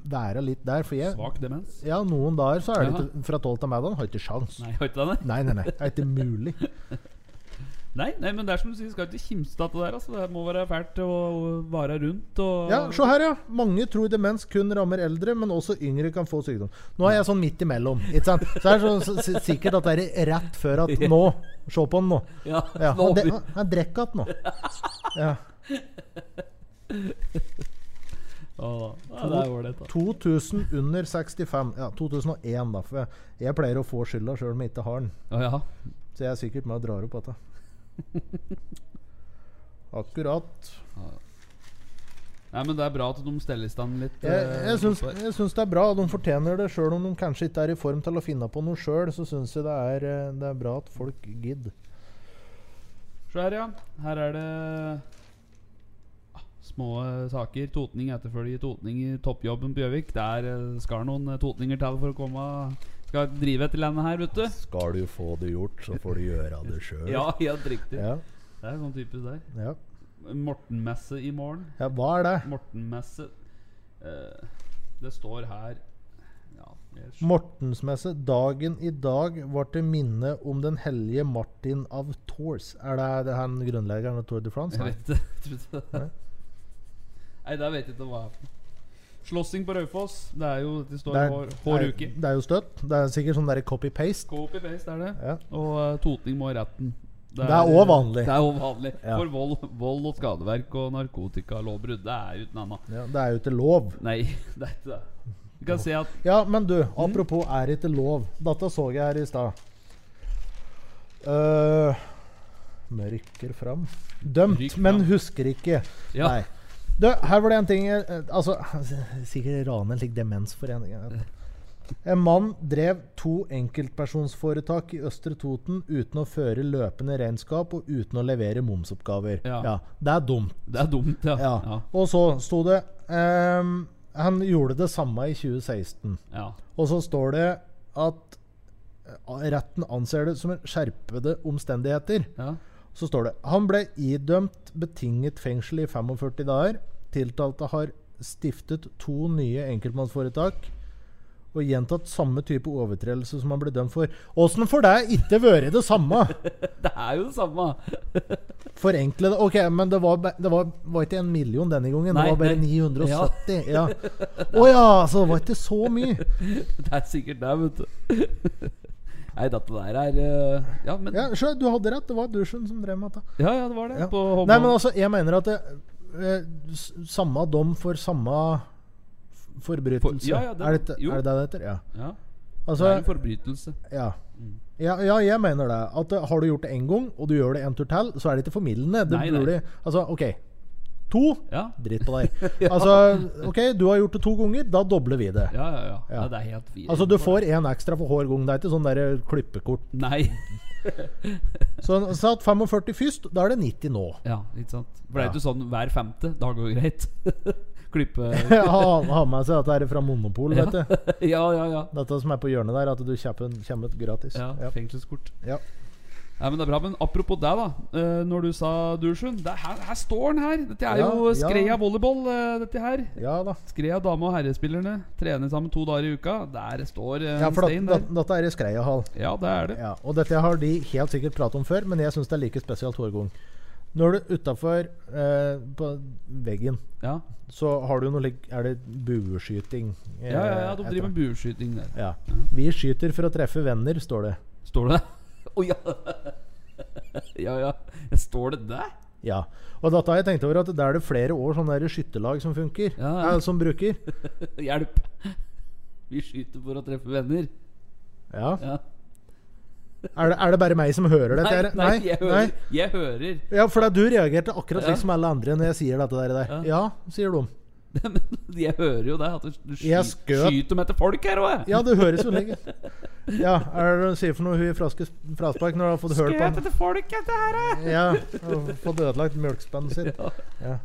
Speaker 2: være litt der, for jeg
Speaker 1: Svak demens.
Speaker 2: Ja, noen dager så er det
Speaker 1: Jaha.
Speaker 2: ikke Fra 12 til middag har jeg ikke sjans.
Speaker 1: Nei, har ikke det, nei.
Speaker 2: Nei, nei, nei. Det er ikke mulig.
Speaker 1: nei. Nei, men det er som du sier, skal ikke kimse av det der. Altså. Det må være fælt å være rundt og
Speaker 2: Ja, Se her, ja. Mange tror demens kun rammer eldre, men også yngre kan få sykdom. Nå er jeg sånn midt imellom. Ikke sant? Så er det sånn, s- s- sikkert at det er rett før at Nå! Se på han nå.
Speaker 1: Ja,
Speaker 2: Ja,
Speaker 1: nå
Speaker 2: han de-
Speaker 1: blir-
Speaker 2: han- han drikker igjen nå. Ja.
Speaker 1: Å, ja, det er ålreit, da.
Speaker 2: 2000 under 65. Ja, 2001, da. For jeg, jeg pleier å få skylda sjøl om jeg ikke har den.
Speaker 1: Å, ja.
Speaker 2: Så jeg er sikkert med og drar opp dette. Akkurat.
Speaker 1: Nei, men det er bra at de steller i stand litt.
Speaker 2: Jeg,
Speaker 1: eh,
Speaker 2: jeg, syns,
Speaker 1: oppå her.
Speaker 2: jeg syns det er bra. De fortjener det, sjøl om de kanskje ikke er i form til å finne på noe sjøl. Så syns jeg det er, eh, det er bra at folk gidder.
Speaker 1: Så her, ja. Her er det ah, små eh, saker. Totning etterfølger totning i toppjobben på Gjøvik. Der eh, skal noen eh, totninger til for å komme Skal drive etter landet her, vet du.
Speaker 2: Skal du få det gjort, så får du gjøre det sjøl.
Speaker 1: Ja, helt riktig.
Speaker 2: Ja,
Speaker 1: Det er sånn typisk der.
Speaker 2: ja.
Speaker 1: Mortenmesse i morgen.
Speaker 2: ja, hva er det?
Speaker 1: Mortenmesse eh, Det står her Ja, jeg skj-
Speaker 2: Mortensmesse. Dagen i dag var til minne om den hellige Martin av Tours. Er det, det han grunnleggeren av Tour de France?
Speaker 1: jeg vet ikke. Nei, der vet jeg ikke hva det er. for noe. Slåssing på Raufoss. Det er jo Det står
Speaker 2: Det er-
Speaker 1: hår, hår
Speaker 2: det
Speaker 1: uke.
Speaker 2: er- Det er jo støtt. Det er sikkert sånn derre copy-paste.
Speaker 1: Copy-paste er det.
Speaker 2: Ja.
Speaker 1: Og eh, totning må i retten.
Speaker 2: Det er også vanlig.
Speaker 1: Det er også vanlig
Speaker 2: Ja.
Speaker 1: For vold, vold og skadeverk og narkotikalovbrudd. Det er uten annet.
Speaker 2: Ja, det er jo ikke lov.
Speaker 1: Nei, det er ikke det. Vi kan se at
Speaker 2: Ja, men du, apropos er ikke lov. Dette så jeg her i stad. Eh, mørker fram. Dømt,
Speaker 1: Rykk fram.
Speaker 2: men husker ikke.
Speaker 1: Ja.
Speaker 2: Nei. Du, her var det en ting jeg- eh, Altså, sikkert rane slik demensforening. jeg vet ikke. En mann drev to enkeltpersonsforetak i Østre Toten uten å føre løpende regnskap og uten å levere momsoppgaver.
Speaker 1: Ja.
Speaker 2: ja det er dumt.
Speaker 1: Det er dumt, ja.
Speaker 2: Ja.
Speaker 1: Ja.
Speaker 2: Og så sto det ehm, Han gjorde det samme i 2016.
Speaker 1: ja.
Speaker 2: Og så står det at eh, retten anser det som en skjerpede omstendigheter.
Speaker 1: ja.
Speaker 2: Så står det Han ble idømt betinget fengsel i 45 dager. Tiltalte har stiftet to nye enkeltmannsforetak og gjentatt samme type overtredelse som han ble dømt for. Åssen får det ikke vært det samme?
Speaker 1: Det er jo det samme.
Speaker 2: Forenkle det. Ok, men det var, ba- det var, var ikke en million denne gangen.
Speaker 1: Nei,
Speaker 2: det var bare
Speaker 1: nei.
Speaker 2: 970. Ja. Å ja, så det var ikke så mye.
Speaker 1: Det er sikkert det, vet du. Nei, dette der er eh, Ja, men
Speaker 2: Ja,
Speaker 1: Ja,
Speaker 2: sjø, du hadde rett. Det var dusjen som drev med dette.
Speaker 1: ja, det var det.
Speaker 2: Ja.
Speaker 1: På Holmen.
Speaker 2: Nei, men altså, jeg mener at det, eh, s- samme dom for samme f- forbrytelse.
Speaker 1: For- ja, ja, det-
Speaker 2: er, det,
Speaker 1: jo.
Speaker 2: er det det det heter? Ja.
Speaker 1: ja. Det er en
Speaker 2: Altså,
Speaker 1: forbrytelse.
Speaker 2: ja. Ja, ja, jeg mener det. At eh, Har du gjort det én gang, og du gjør det en tur til, så er det ikke formildende. Det
Speaker 1: Nei, nei.
Speaker 2: burde, altså, OK. To.
Speaker 1: Ja.
Speaker 2: Dritt på deg. Altså, OK, du har gjort det to ganger. Da dobler vi det.
Speaker 1: Ja, ja, ja. ja.
Speaker 2: Ja.
Speaker 1: det er helt fint.
Speaker 2: Altså, du får én ekstra for hver gang. Det er ikke sånn der klippekort.
Speaker 1: Nei.
Speaker 2: Så han satt 45 først, da er det 90 nå.
Speaker 1: Ja, ikke sant. Blei du sånn hver femte? Da går det greit. Klippe
Speaker 2: Ha, ha med seg dette her fra Monopol, vet du.
Speaker 1: Ja, ja, ja.
Speaker 2: Dette som er på hjørnet der, at du kjøper kommer gratis.
Speaker 1: ja,
Speaker 2: Ja.
Speaker 1: Fengselskort.
Speaker 2: Ja.
Speaker 1: Nei, men det er bra, men Apropos deg, da. eh, når du sa dusjen det, her, her står den her! Dette er
Speaker 2: Ja,
Speaker 1: jo
Speaker 2: ja.
Speaker 1: Skreia volleyball. eh, dette her
Speaker 2: ja da.
Speaker 1: Skreia dame- og herrespillerne trener sammen to dager i uka. Der står eh, en
Speaker 2: Ja, for
Speaker 1: stein. Der.
Speaker 2: dat, dat, dette er i Skreiahall.
Speaker 1: Ja, det er det.
Speaker 2: Ja, og dette har de helt sikkert pratet om før, men jeg syns det er like spesielt hver gang. Når du utafor eh, på veggen,
Speaker 1: Ja,
Speaker 2: så har du noe lik- Er det bueskyting? eh,
Speaker 1: ja, ja, ja de driver
Speaker 2: etter.
Speaker 1: med bueskyting der.
Speaker 2: ja. Vi skyter for å treffe venner, står det.
Speaker 1: Står det der? Å ja. ja, ja. Står det der?
Speaker 2: Ja. Og dette har jeg tenkt over at det er det flere år sånne der skytterlag som funker.
Speaker 1: Ja, ja.
Speaker 2: eh, Som bruker.
Speaker 1: Hjelp! Vi skyter for å treffe venner.
Speaker 2: Ja.
Speaker 1: Ja.
Speaker 2: Er, det, er det bare meg som hører dette? her?
Speaker 1: nei, jeg hører. Jeg hører.
Speaker 2: Ja, for da du reagerte akkurat
Speaker 1: Ja.
Speaker 2: slik som alle andre når jeg sier dette der. der. Ja. sier de.
Speaker 1: Men jeg hører jo deg. At du, du sky,
Speaker 2: Jeg skjøt.
Speaker 1: skyter dem etter folk her òg.
Speaker 2: Ja, det høres jo lenge Ja, er det du sier for noe hun i fraske, fraspark når du har fått hørt på
Speaker 1: Skjøt
Speaker 2: den?
Speaker 1: etter folk, dette her! eh.
Speaker 2: Ja, og fått ødelagt mjølkspennet sitt. Ja.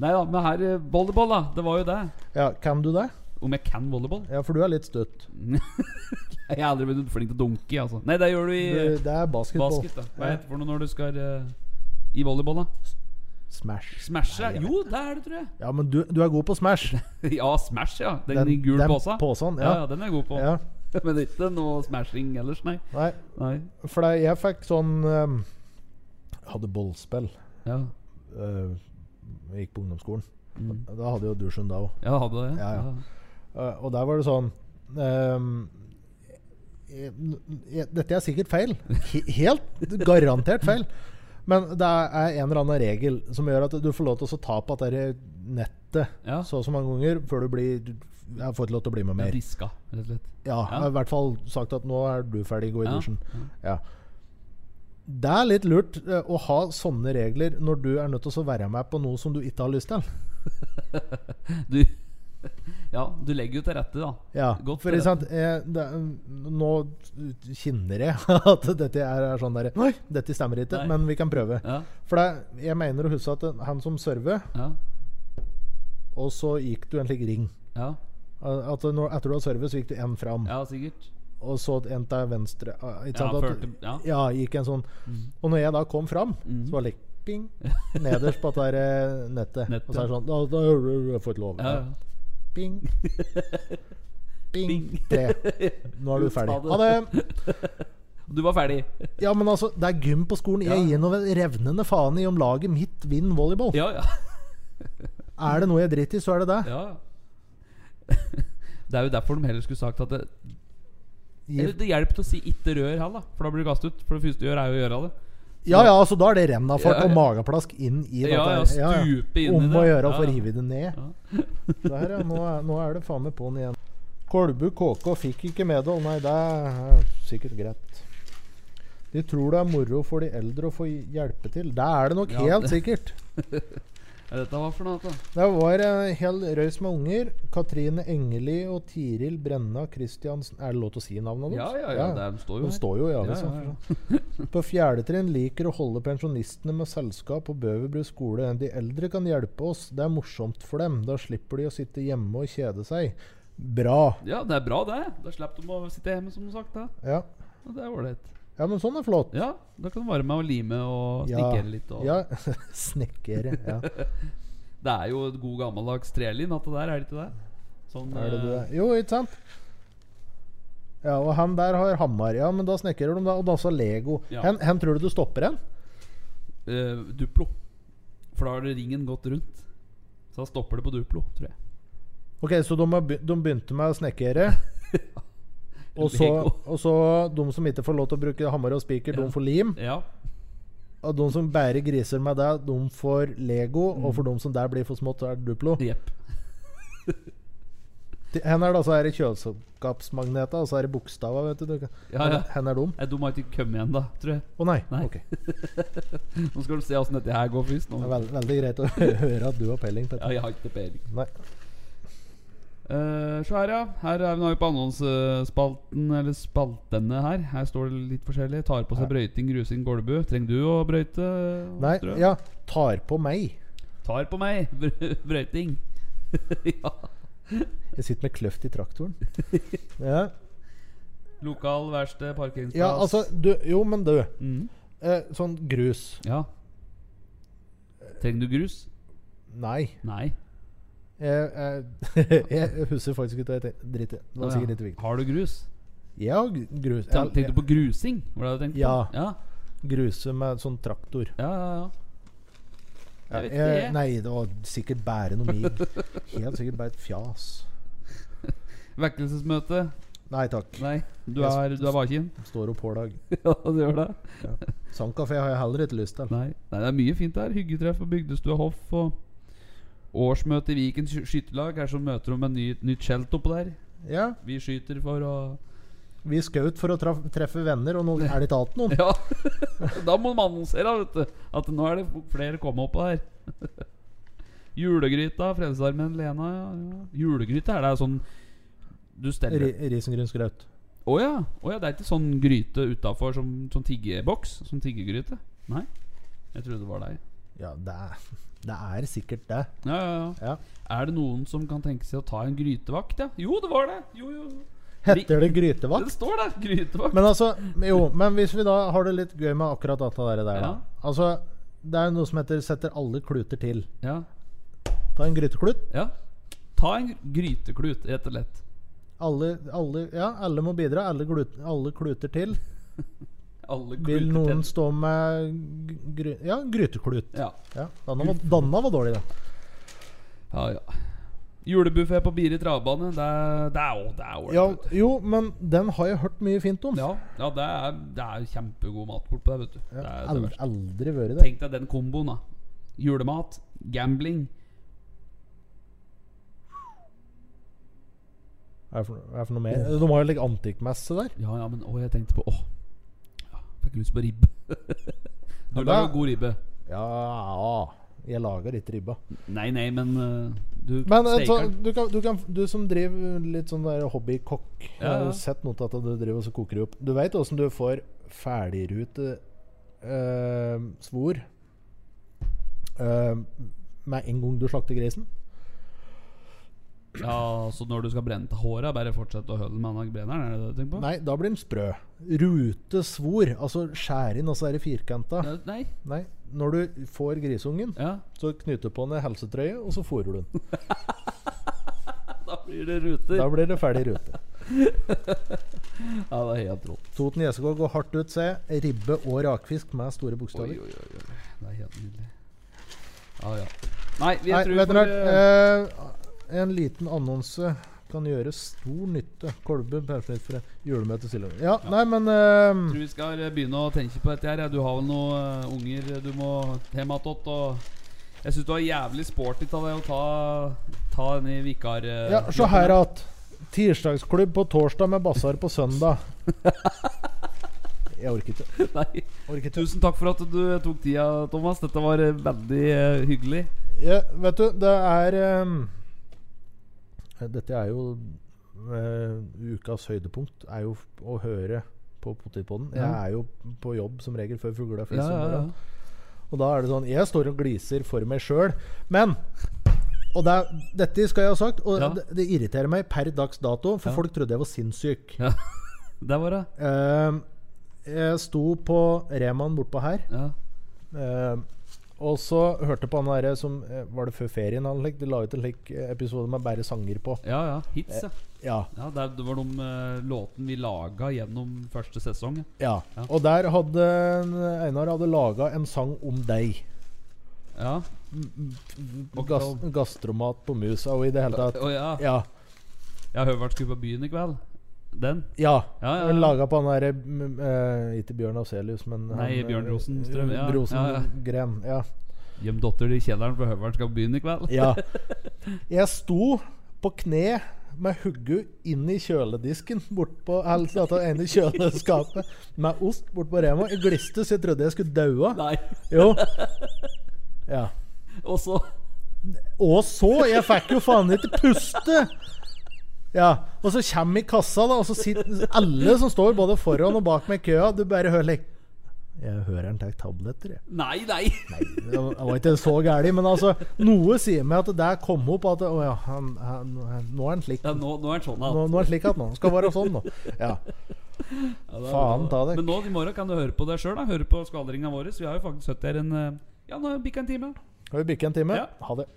Speaker 1: Nei da, men her eh, Volleyball, da. Det var jo det.
Speaker 2: ja, kan du det?
Speaker 1: Om jeg kan volleyball?
Speaker 2: Ja, for du er litt støtt.
Speaker 1: Jeg har aldri blitt flink til å dunke, i, altså. Nei, det gjør du i
Speaker 2: Du,
Speaker 1: eh,
Speaker 2: det er basketball.
Speaker 1: basket. da Hva
Speaker 2: Ja.
Speaker 1: heter det for noe når du skal eh, i volleyball, da?
Speaker 2: Smash.
Speaker 1: Smash? ja. Jo, det er det, tror jeg.
Speaker 2: Ja, men du, du er god på smash.
Speaker 1: Ja, Smash, ja. Den,
Speaker 2: Den-
Speaker 1: i gul
Speaker 2: den
Speaker 1: påsa.
Speaker 2: påsen, ja.
Speaker 1: ja. ja, den er jeg god på.
Speaker 2: Ja.
Speaker 1: Men det er ikke noe smashing ellers, nei.
Speaker 2: Nei,
Speaker 1: nei.
Speaker 2: for det, jeg fikk sånn ehm, Jeg hadde bollspill.
Speaker 1: Ja.
Speaker 2: eh, Jeg gikk på ungdomsskolen.
Speaker 1: Mm.
Speaker 2: Da hadde jeg jo dusjen da òg.
Speaker 1: ja, jeg hadde det.
Speaker 2: Ja, ja. Eh, og der var det sånn ehm, eh, jeg, jeg, Dette er sikkert feil. He- Helt garantert feil. Men det er en eller annen regel som gjør at du får lov til å ta på dette nettet
Speaker 1: Ja.
Speaker 2: så og så mange ganger før du blir du- Jeg får ikke lov til å bli med
Speaker 1: Jeg
Speaker 2: mer.
Speaker 1: diska, rett og slett.
Speaker 2: Ja, jeg har i hvert fall sagt at nå er du ferdig, gå i
Speaker 1: Ja,
Speaker 2: dusjen. Ja. Det er litt lurt eh, å ha sånne regler når du er nødt til å være med på noe som du ikke har lyst til.
Speaker 1: Du Ja, du legger jo til rette, da.
Speaker 2: Ja,
Speaker 1: Godt
Speaker 2: for
Speaker 1: til
Speaker 2: ikke sant eh, det, Nå kjenner jeg at dette er, er sånn der Nei, dette stemmer ikke,
Speaker 1: Nei.
Speaker 2: men vi kan prøve.
Speaker 1: Ja,
Speaker 2: For det, jeg mener å huske at den- han som server,
Speaker 1: ja,
Speaker 2: og så gikk du en slik ring.
Speaker 1: ja,
Speaker 2: Al- At når, etter du har servet, så gikk du en fram,
Speaker 1: ja sikkert.
Speaker 2: og så en til venstre. ah, Ikke
Speaker 1: Ja,
Speaker 2: sant? at,
Speaker 1: førte- ja. Mhm.
Speaker 2: ja, gikk en sånn. Og når jeg da kom fram, så var det like, ping, nederst på dette her, eh, nettet.
Speaker 1: Nettet.
Speaker 2: Og så er det sånn Da, da har du fått lov.
Speaker 1: Ja, ja.
Speaker 2: Ping. Ping.
Speaker 1: Ping.
Speaker 2: Tre. Nå er du ferdig.
Speaker 1: Ta det.
Speaker 2: Ha det.
Speaker 1: Du var ferdig?
Speaker 2: Ja, men altså, det er gym på skolen. Jeg
Speaker 1: Ja.
Speaker 2: gir noe revnende faen i om laget mitt vinner volleyball.
Speaker 1: Ja, ja.
Speaker 2: Er det noe jeg driter i, så er det det.
Speaker 1: ja. Det er jo derfor de heller skulle sagt at det,
Speaker 2: Gi-
Speaker 1: eller det hjelper til å si 'ikke rør' her, da. For da blir du kastet ut. For det første du gjør, er jo å gjøre det.
Speaker 2: Ja ja, altså da er det rennafart
Speaker 1: Ja, ja.
Speaker 2: og mageplask inn i
Speaker 1: Ja, ja,
Speaker 2: dette her.
Speaker 1: stupe inn i
Speaker 2: Om å
Speaker 1: det.
Speaker 2: gjøre å
Speaker 1: Ja,
Speaker 2: få
Speaker 1: ja.
Speaker 2: rive det ned. Der, ja. Nå er, nå er det faen meg på'n igjen. Kolbu KK fikk ikke medhold. Nei, det er sikkert greit. De tror det er moro for de eldre å få hjelpe til. Det er det nok
Speaker 1: Ja,
Speaker 2: helt
Speaker 1: det-
Speaker 2: sikkert.
Speaker 1: Ja, Dette var for noe, da.
Speaker 2: Det var en hel røys med unger. Katrine Engeli og Tiril Brenna Christiansen Er det lov til å si navnet
Speaker 1: Ja,
Speaker 2: deres?
Speaker 1: ja, ja. Det er, de står jo
Speaker 2: De
Speaker 1: her.
Speaker 2: står jo i
Speaker 1: ja,
Speaker 2: avisa.
Speaker 1: ja, ja.
Speaker 2: På fjerde trinn liker å holde pensjonistene med selskap på Bøverbru skole. De eldre kan hjelpe oss, det er morsomt for dem. Da slipper de å sitte hjemme og kjede seg. Bra.
Speaker 1: ja, det er bra, det. Da slipper de å sitte hjemme, som sagt. Da.
Speaker 2: Ja,
Speaker 1: Og det er ålreit.
Speaker 2: ja men sånn er flott.
Speaker 1: Ja, da kan du være med og lime og
Speaker 2: Ja.
Speaker 1: snikkere litt. Og.
Speaker 2: Ja, Snekkere. Ja.
Speaker 1: Det er jo et god gammeldags trelin, at det der, er det ikke det? Sånn,
Speaker 2: Er det det?
Speaker 1: eh,
Speaker 2: Jo, ikke sant? Ja, og han der har hammer. Ja, men da snekrer de, da. Og danser Lego.
Speaker 1: Ja.
Speaker 2: Hen, hen tror du du stopper hen?
Speaker 1: eh, Duplo. For da har det ringen gått rundt. Så da stopper det på Duplo, tror jeg.
Speaker 2: Ok, så de, har be- de begynte med å snekkere. Og så,
Speaker 1: Lego.
Speaker 2: og så de som ikke får lov til å bruke hammer og spiker,
Speaker 1: Ja.
Speaker 2: de får lim.
Speaker 1: Ja,
Speaker 2: Og de som bærer griser med det, de får Lego.
Speaker 1: Mm.
Speaker 2: Og for de som der blir for smått, så er det Duplo.
Speaker 1: jepp.
Speaker 2: Til- Hen er det altså her i kjøleskapsmagneta, og så er det bokstava, vet du. du. kan-
Speaker 1: Ja, ja.
Speaker 2: Hen er dum.
Speaker 1: Nei, De har ikke kommet igjen, da, tror jeg.
Speaker 2: Å nei.
Speaker 1: Nei.
Speaker 2: Ok. Det
Speaker 1: Nå skal du se åssen dette her går først.
Speaker 2: er
Speaker 1: Nå.
Speaker 2: veld, veldig greit å høre at du har peiling på dette.
Speaker 1: Ja, jeg har ikke peiling.
Speaker 2: Nei.
Speaker 1: Eh, så her, ja. Her er vi nå på annonsespalten, eller spaltene her. Her står det litt forskjellig. Tar på seg brøyting, grusing, Golbu. Trenger du å brøyte?
Speaker 2: nei.
Speaker 1: Strø?
Speaker 2: Ja, tar på meg.
Speaker 1: Tar på meg. Br- Brøyting. ja.
Speaker 2: Jeg sitter med kløft i traktoren. Ja,
Speaker 1: Lokal verksted, parkeringsplass.
Speaker 2: ja altså du, Jo, men du.
Speaker 1: Mhm.
Speaker 2: Eh, sånn grus.
Speaker 1: Ja. Trenger du grus?
Speaker 2: Nei.
Speaker 1: Nei.
Speaker 2: Jeg, jeg, jeg husker faktisk ikke hva jeg tenkte. Drit i det. Det var
Speaker 1: Å,
Speaker 2: sikkert
Speaker 1: ja.
Speaker 2: ikke viktig.
Speaker 1: Har du grus?
Speaker 2: Ja, grus.
Speaker 1: Ten- Tenkte du på grusing? Var det det du tenkte
Speaker 2: Ja.
Speaker 1: på? Ja.
Speaker 2: gruse med sånn traktor.
Speaker 1: Ja, ja, ja. Jeg vet ikke,
Speaker 2: Eh,
Speaker 1: jeg.
Speaker 2: nei, det var sikkert bare noe mig. Helt sikkert bare et fjas.
Speaker 1: Vekkelsesmøte?
Speaker 2: Nei takk.
Speaker 1: Nei. Du
Speaker 2: Jeg
Speaker 1: er, du er bakin?
Speaker 2: Står opp hver dag.
Speaker 1: ja, du gjør det?
Speaker 2: Sandkafé har jeg heller ikke lyst til.
Speaker 1: Nei, nei, det er mye fint der. Hyggetreff på Bygdestua Hoff og årsmøte i Viken sky- skytterlag. Her så møter de med ny, nytt skjelt oppå der.
Speaker 2: Ja,
Speaker 1: Vi skyter for å
Speaker 2: vi skaut for å traf treffe venner, og nå er det ikke alt noen.
Speaker 1: Ja! da må man annonsere, vet du. At nå er det flere komme oppå der. Julegryta, Frelsesarmeen, Lena ja, ja. Julegryte er det sånn du steller Å
Speaker 2: Ri- Risengrynsgrøt.
Speaker 1: ja. å ja! Det er ikke sånn gryte utafor som, som tiggeboks? Som tiggegryte? Nei? Jeg trodde det var deg.
Speaker 2: Ja, det er, det er sikkert det.
Speaker 1: Ja, ja, ja.
Speaker 2: Ja.
Speaker 1: Er det noen som kan tenke seg å ta en grytevakt? Ja? Jo, det var det! Jo, jo.
Speaker 2: Heter det
Speaker 1: Det
Speaker 2: grytevakt?
Speaker 1: står der! Grytevakt.
Speaker 2: Men altså, jo, men hvis vi da har det litt gøy med akkurat dette der, der da.
Speaker 1: Ja.
Speaker 2: Altså, det er noe som heter 'setter alle kluter til'.
Speaker 1: Ja.
Speaker 2: Ta en gryteklut.
Speaker 1: ja. Ta en gryteklut, rett og slett.
Speaker 2: Alle, alle, ja, alle må bidra. Alle, glut, alle kluter til.
Speaker 1: Alle
Speaker 2: Vil
Speaker 1: kluter
Speaker 2: noen
Speaker 1: til.
Speaker 2: stå med gry, ja, gryteklut?
Speaker 1: Ja.
Speaker 2: Ja, Danna var, Danna var dårlig, da.
Speaker 1: ja, ja. Julebuffé på Biri travbane. Det er det er- å, det er
Speaker 2: Ja,
Speaker 1: ålreit.
Speaker 2: jo, men den har jeg hørt mye fint om.
Speaker 1: Ja, ja, det er, det er kjempegod matbord på det, vet du. Det er det
Speaker 2: Ald-
Speaker 1: verste.
Speaker 2: aldri vært det.
Speaker 1: Tenk deg den komboen, da. Julemat, gambling
Speaker 2: Hva er for, hva er for noe mer? De har jo like antikkmesse der.
Speaker 1: Ja, ja, men å, jeg tenkte på Å, ja, fikk lyst på ribbe. Du
Speaker 2: Ja, da-
Speaker 1: lager god ribbe.
Speaker 2: Ja, Jeg lager litt ribba.
Speaker 1: Nei, nei, men eh, du
Speaker 2: Men eh, så,
Speaker 1: steker den.
Speaker 2: du, kan, du, kan, du som driver litt sånn der hobbykokk Jeg har
Speaker 1: Ja, ja.
Speaker 2: jo sett noe til at du driver og så koker det opp. Du veit åssen du får ferdigrute eh, svor eh, med en gang du slakter grisen?
Speaker 1: Ja, så når du skal brenne til håret, bare fortsett å holde med den brenneren? Er det det du tenker på?
Speaker 2: Nei, da blir den sprø. Rute svor, altså skjære inn, og så er det firkanta.
Speaker 1: Ja, nei.
Speaker 2: Nei, når du får grisungen,
Speaker 1: Ja,
Speaker 2: så knytter du på den i helsetrøye, og så fôrer du den.
Speaker 1: da blir det ruter.
Speaker 2: Da blir det ferdig rute.
Speaker 1: Ja, det er helt rått.
Speaker 2: Toten Gjesegård går hardt ut, se. Ribbe og rakfisk med store
Speaker 1: Oi, oi,
Speaker 2: bokstaver.
Speaker 1: oi, oi. Det er helt nydelig. Ja, ja. Nei, vi
Speaker 2: Nei,
Speaker 1: tror eh, vi
Speaker 2: vet Eh.
Speaker 1: får,
Speaker 2: dere, eh, en liten annonse kan gjøre stor nytte. Kolbe, pensjonistforening, julemøte, Siljevold. Ja, nei, men ehm,
Speaker 1: Tror vi skal eh, begynne å tenke på dette her. ja. Du har vel noen eh, unger du må hjem attåt. Og jeg syns du var jævlig sporty av deg å ta, ta denne vikar... eh,
Speaker 2: Ja, se
Speaker 1: jobben
Speaker 2: her at Tirsdagsklubb på torsdag med basar på søndag. Jeg orker ikke.
Speaker 1: Nei.
Speaker 2: Orker ikke.
Speaker 1: Tusen takk for at du tok tida, Thomas. Dette var eh, veldig eh, hyggelig.
Speaker 2: Ja, vet du, det er ehm, Dette er jo eh, ukas høydepunkt. Er jo f- å høre på Potetpodden. Jeg
Speaker 1: Ja.
Speaker 2: er jo på jobb som regel før fugla
Speaker 1: Ja,
Speaker 2: flyr.
Speaker 1: ja, ja.
Speaker 2: Og da er det sånn Jeg står og gliser for meg sjøl, men Og det, er- dette skal jeg ha sagt, og
Speaker 1: Ja.
Speaker 2: det, det irriterer meg per dags dato, for
Speaker 1: Ja.
Speaker 2: folk trodde jeg var sinnssyk.
Speaker 1: Ja. Der var det.
Speaker 2: Ehm, jeg sto på Reman bortpå her,
Speaker 1: Ja.
Speaker 2: ehm, og så hørte på han derre som eh, Var det før ferien han like, de la ut en slik eh, episode med bare sanger på?
Speaker 1: ja, ja. Hits, ja.
Speaker 2: Ja.
Speaker 1: ja der, det var de eh, låten vi laga gjennom første sesong.
Speaker 2: ja.
Speaker 1: Ja.
Speaker 2: Og der hadde Einar hadde laga en sang om deg.
Speaker 1: Ja. Og
Speaker 2: Gas,
Speaker 1: om-
Speaker 2: gastromat på musa og i det hele tatt.
Speaker 1: Å ja.
Speaker 2: Ja.
Speaker 1: Jeg har hørt skulle på byen i kveld. Den?
Speaker 2: Ja.
Speaker 1: Ja, ja, ja.
Speaker 2: Laga på han derre mm, eh, Ikke Bjørn Afselius, men
Speaker 1: Nei,
Speaker 2: han,
Speaker 1: Bjørn
Speaker 2: eh,
Speaker 1: Rosenstrøm, ja.
Speaker 2: Rosengren. Ja.
Speaker 1: Gjem dotter i kjelleren, for Høveren skal på byen i kveld.
Speaker 2: Ja. Jeg sto på kne med hodet inn i kjøledisken bortpå det ene kjøleskapet med ost bortpå Rema. Jeg gliste så jeg trodde jeg skulle daua.
Speaker 1: Nei.
Speaker 2: Jo. Ja.
Speaker 1: Og så
Speaker 2: Og så! Jeg fikk jo faen ikke puste! Ja, Og så kommer jeg i kassa, da, og så sitter alle som står både foran og bak meg i køa, du bare hører like Jeg hører han tar tabletter, jeg.
Speaker 1: Nei, nei!
Speaker 2: Det var det var ikke så gærent, men altså Noe sier meg at det der kom opp at Å ja, han, han, nå er han slik.
Speaker 1: Ja, nå, nå er den sånn,
Speaker 2: Nå,
Speaker 1: da.
Speaker 2: nå er det slik at nå skal være sånn nå. Ja.
Speaker 1: Ja, det er
Speaker 2: faen
Speaker 1: bra.
Speaker 2: ta deg.
Speaker 1: Men nå i morgen kan du høre på deg sjøl. Høre på skvaldringa vår. Vi har jo faktisk sittet her en eh, Ja, nå har det bikka en time.
Speaker 2: Skal vi bygge en time?
Speaker 1: Ja.
Speaker 2: Ha det.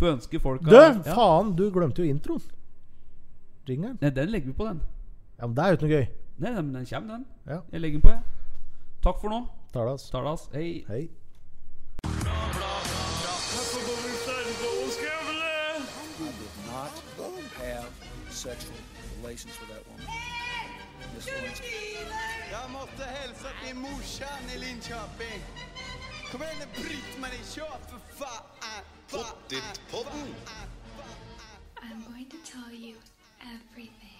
Speaker 1: Får ønske folk
Speaker 2: Du,
Speaker 1: ja.
Speaker 2: faen, du glemte jo introen. Jingeren.
Speaker 1: Nei, Den legger vi på, den.
Speaker 2: Ja, men det er jo ikke noe gøy.
Speaker 1: Nei, nei, men den kommer, den.
Speaker 2: Ja.
Speaker 1: Jeg legger den på, jeg. Takk for nå.
Speaker 2: Talas.
Speaker 1: Talas. Hei.
Speaker 2: altså. Hei.
Speaker 3: I did not have sexual relations with that woman. Miss Lewinsky.
Speaker 4: Jag måste hälsa till morsan i Linköping. Kom igen nu Britt-Marie, kör för fan! Fa-
Speaker 5: I'm going to tell you everything.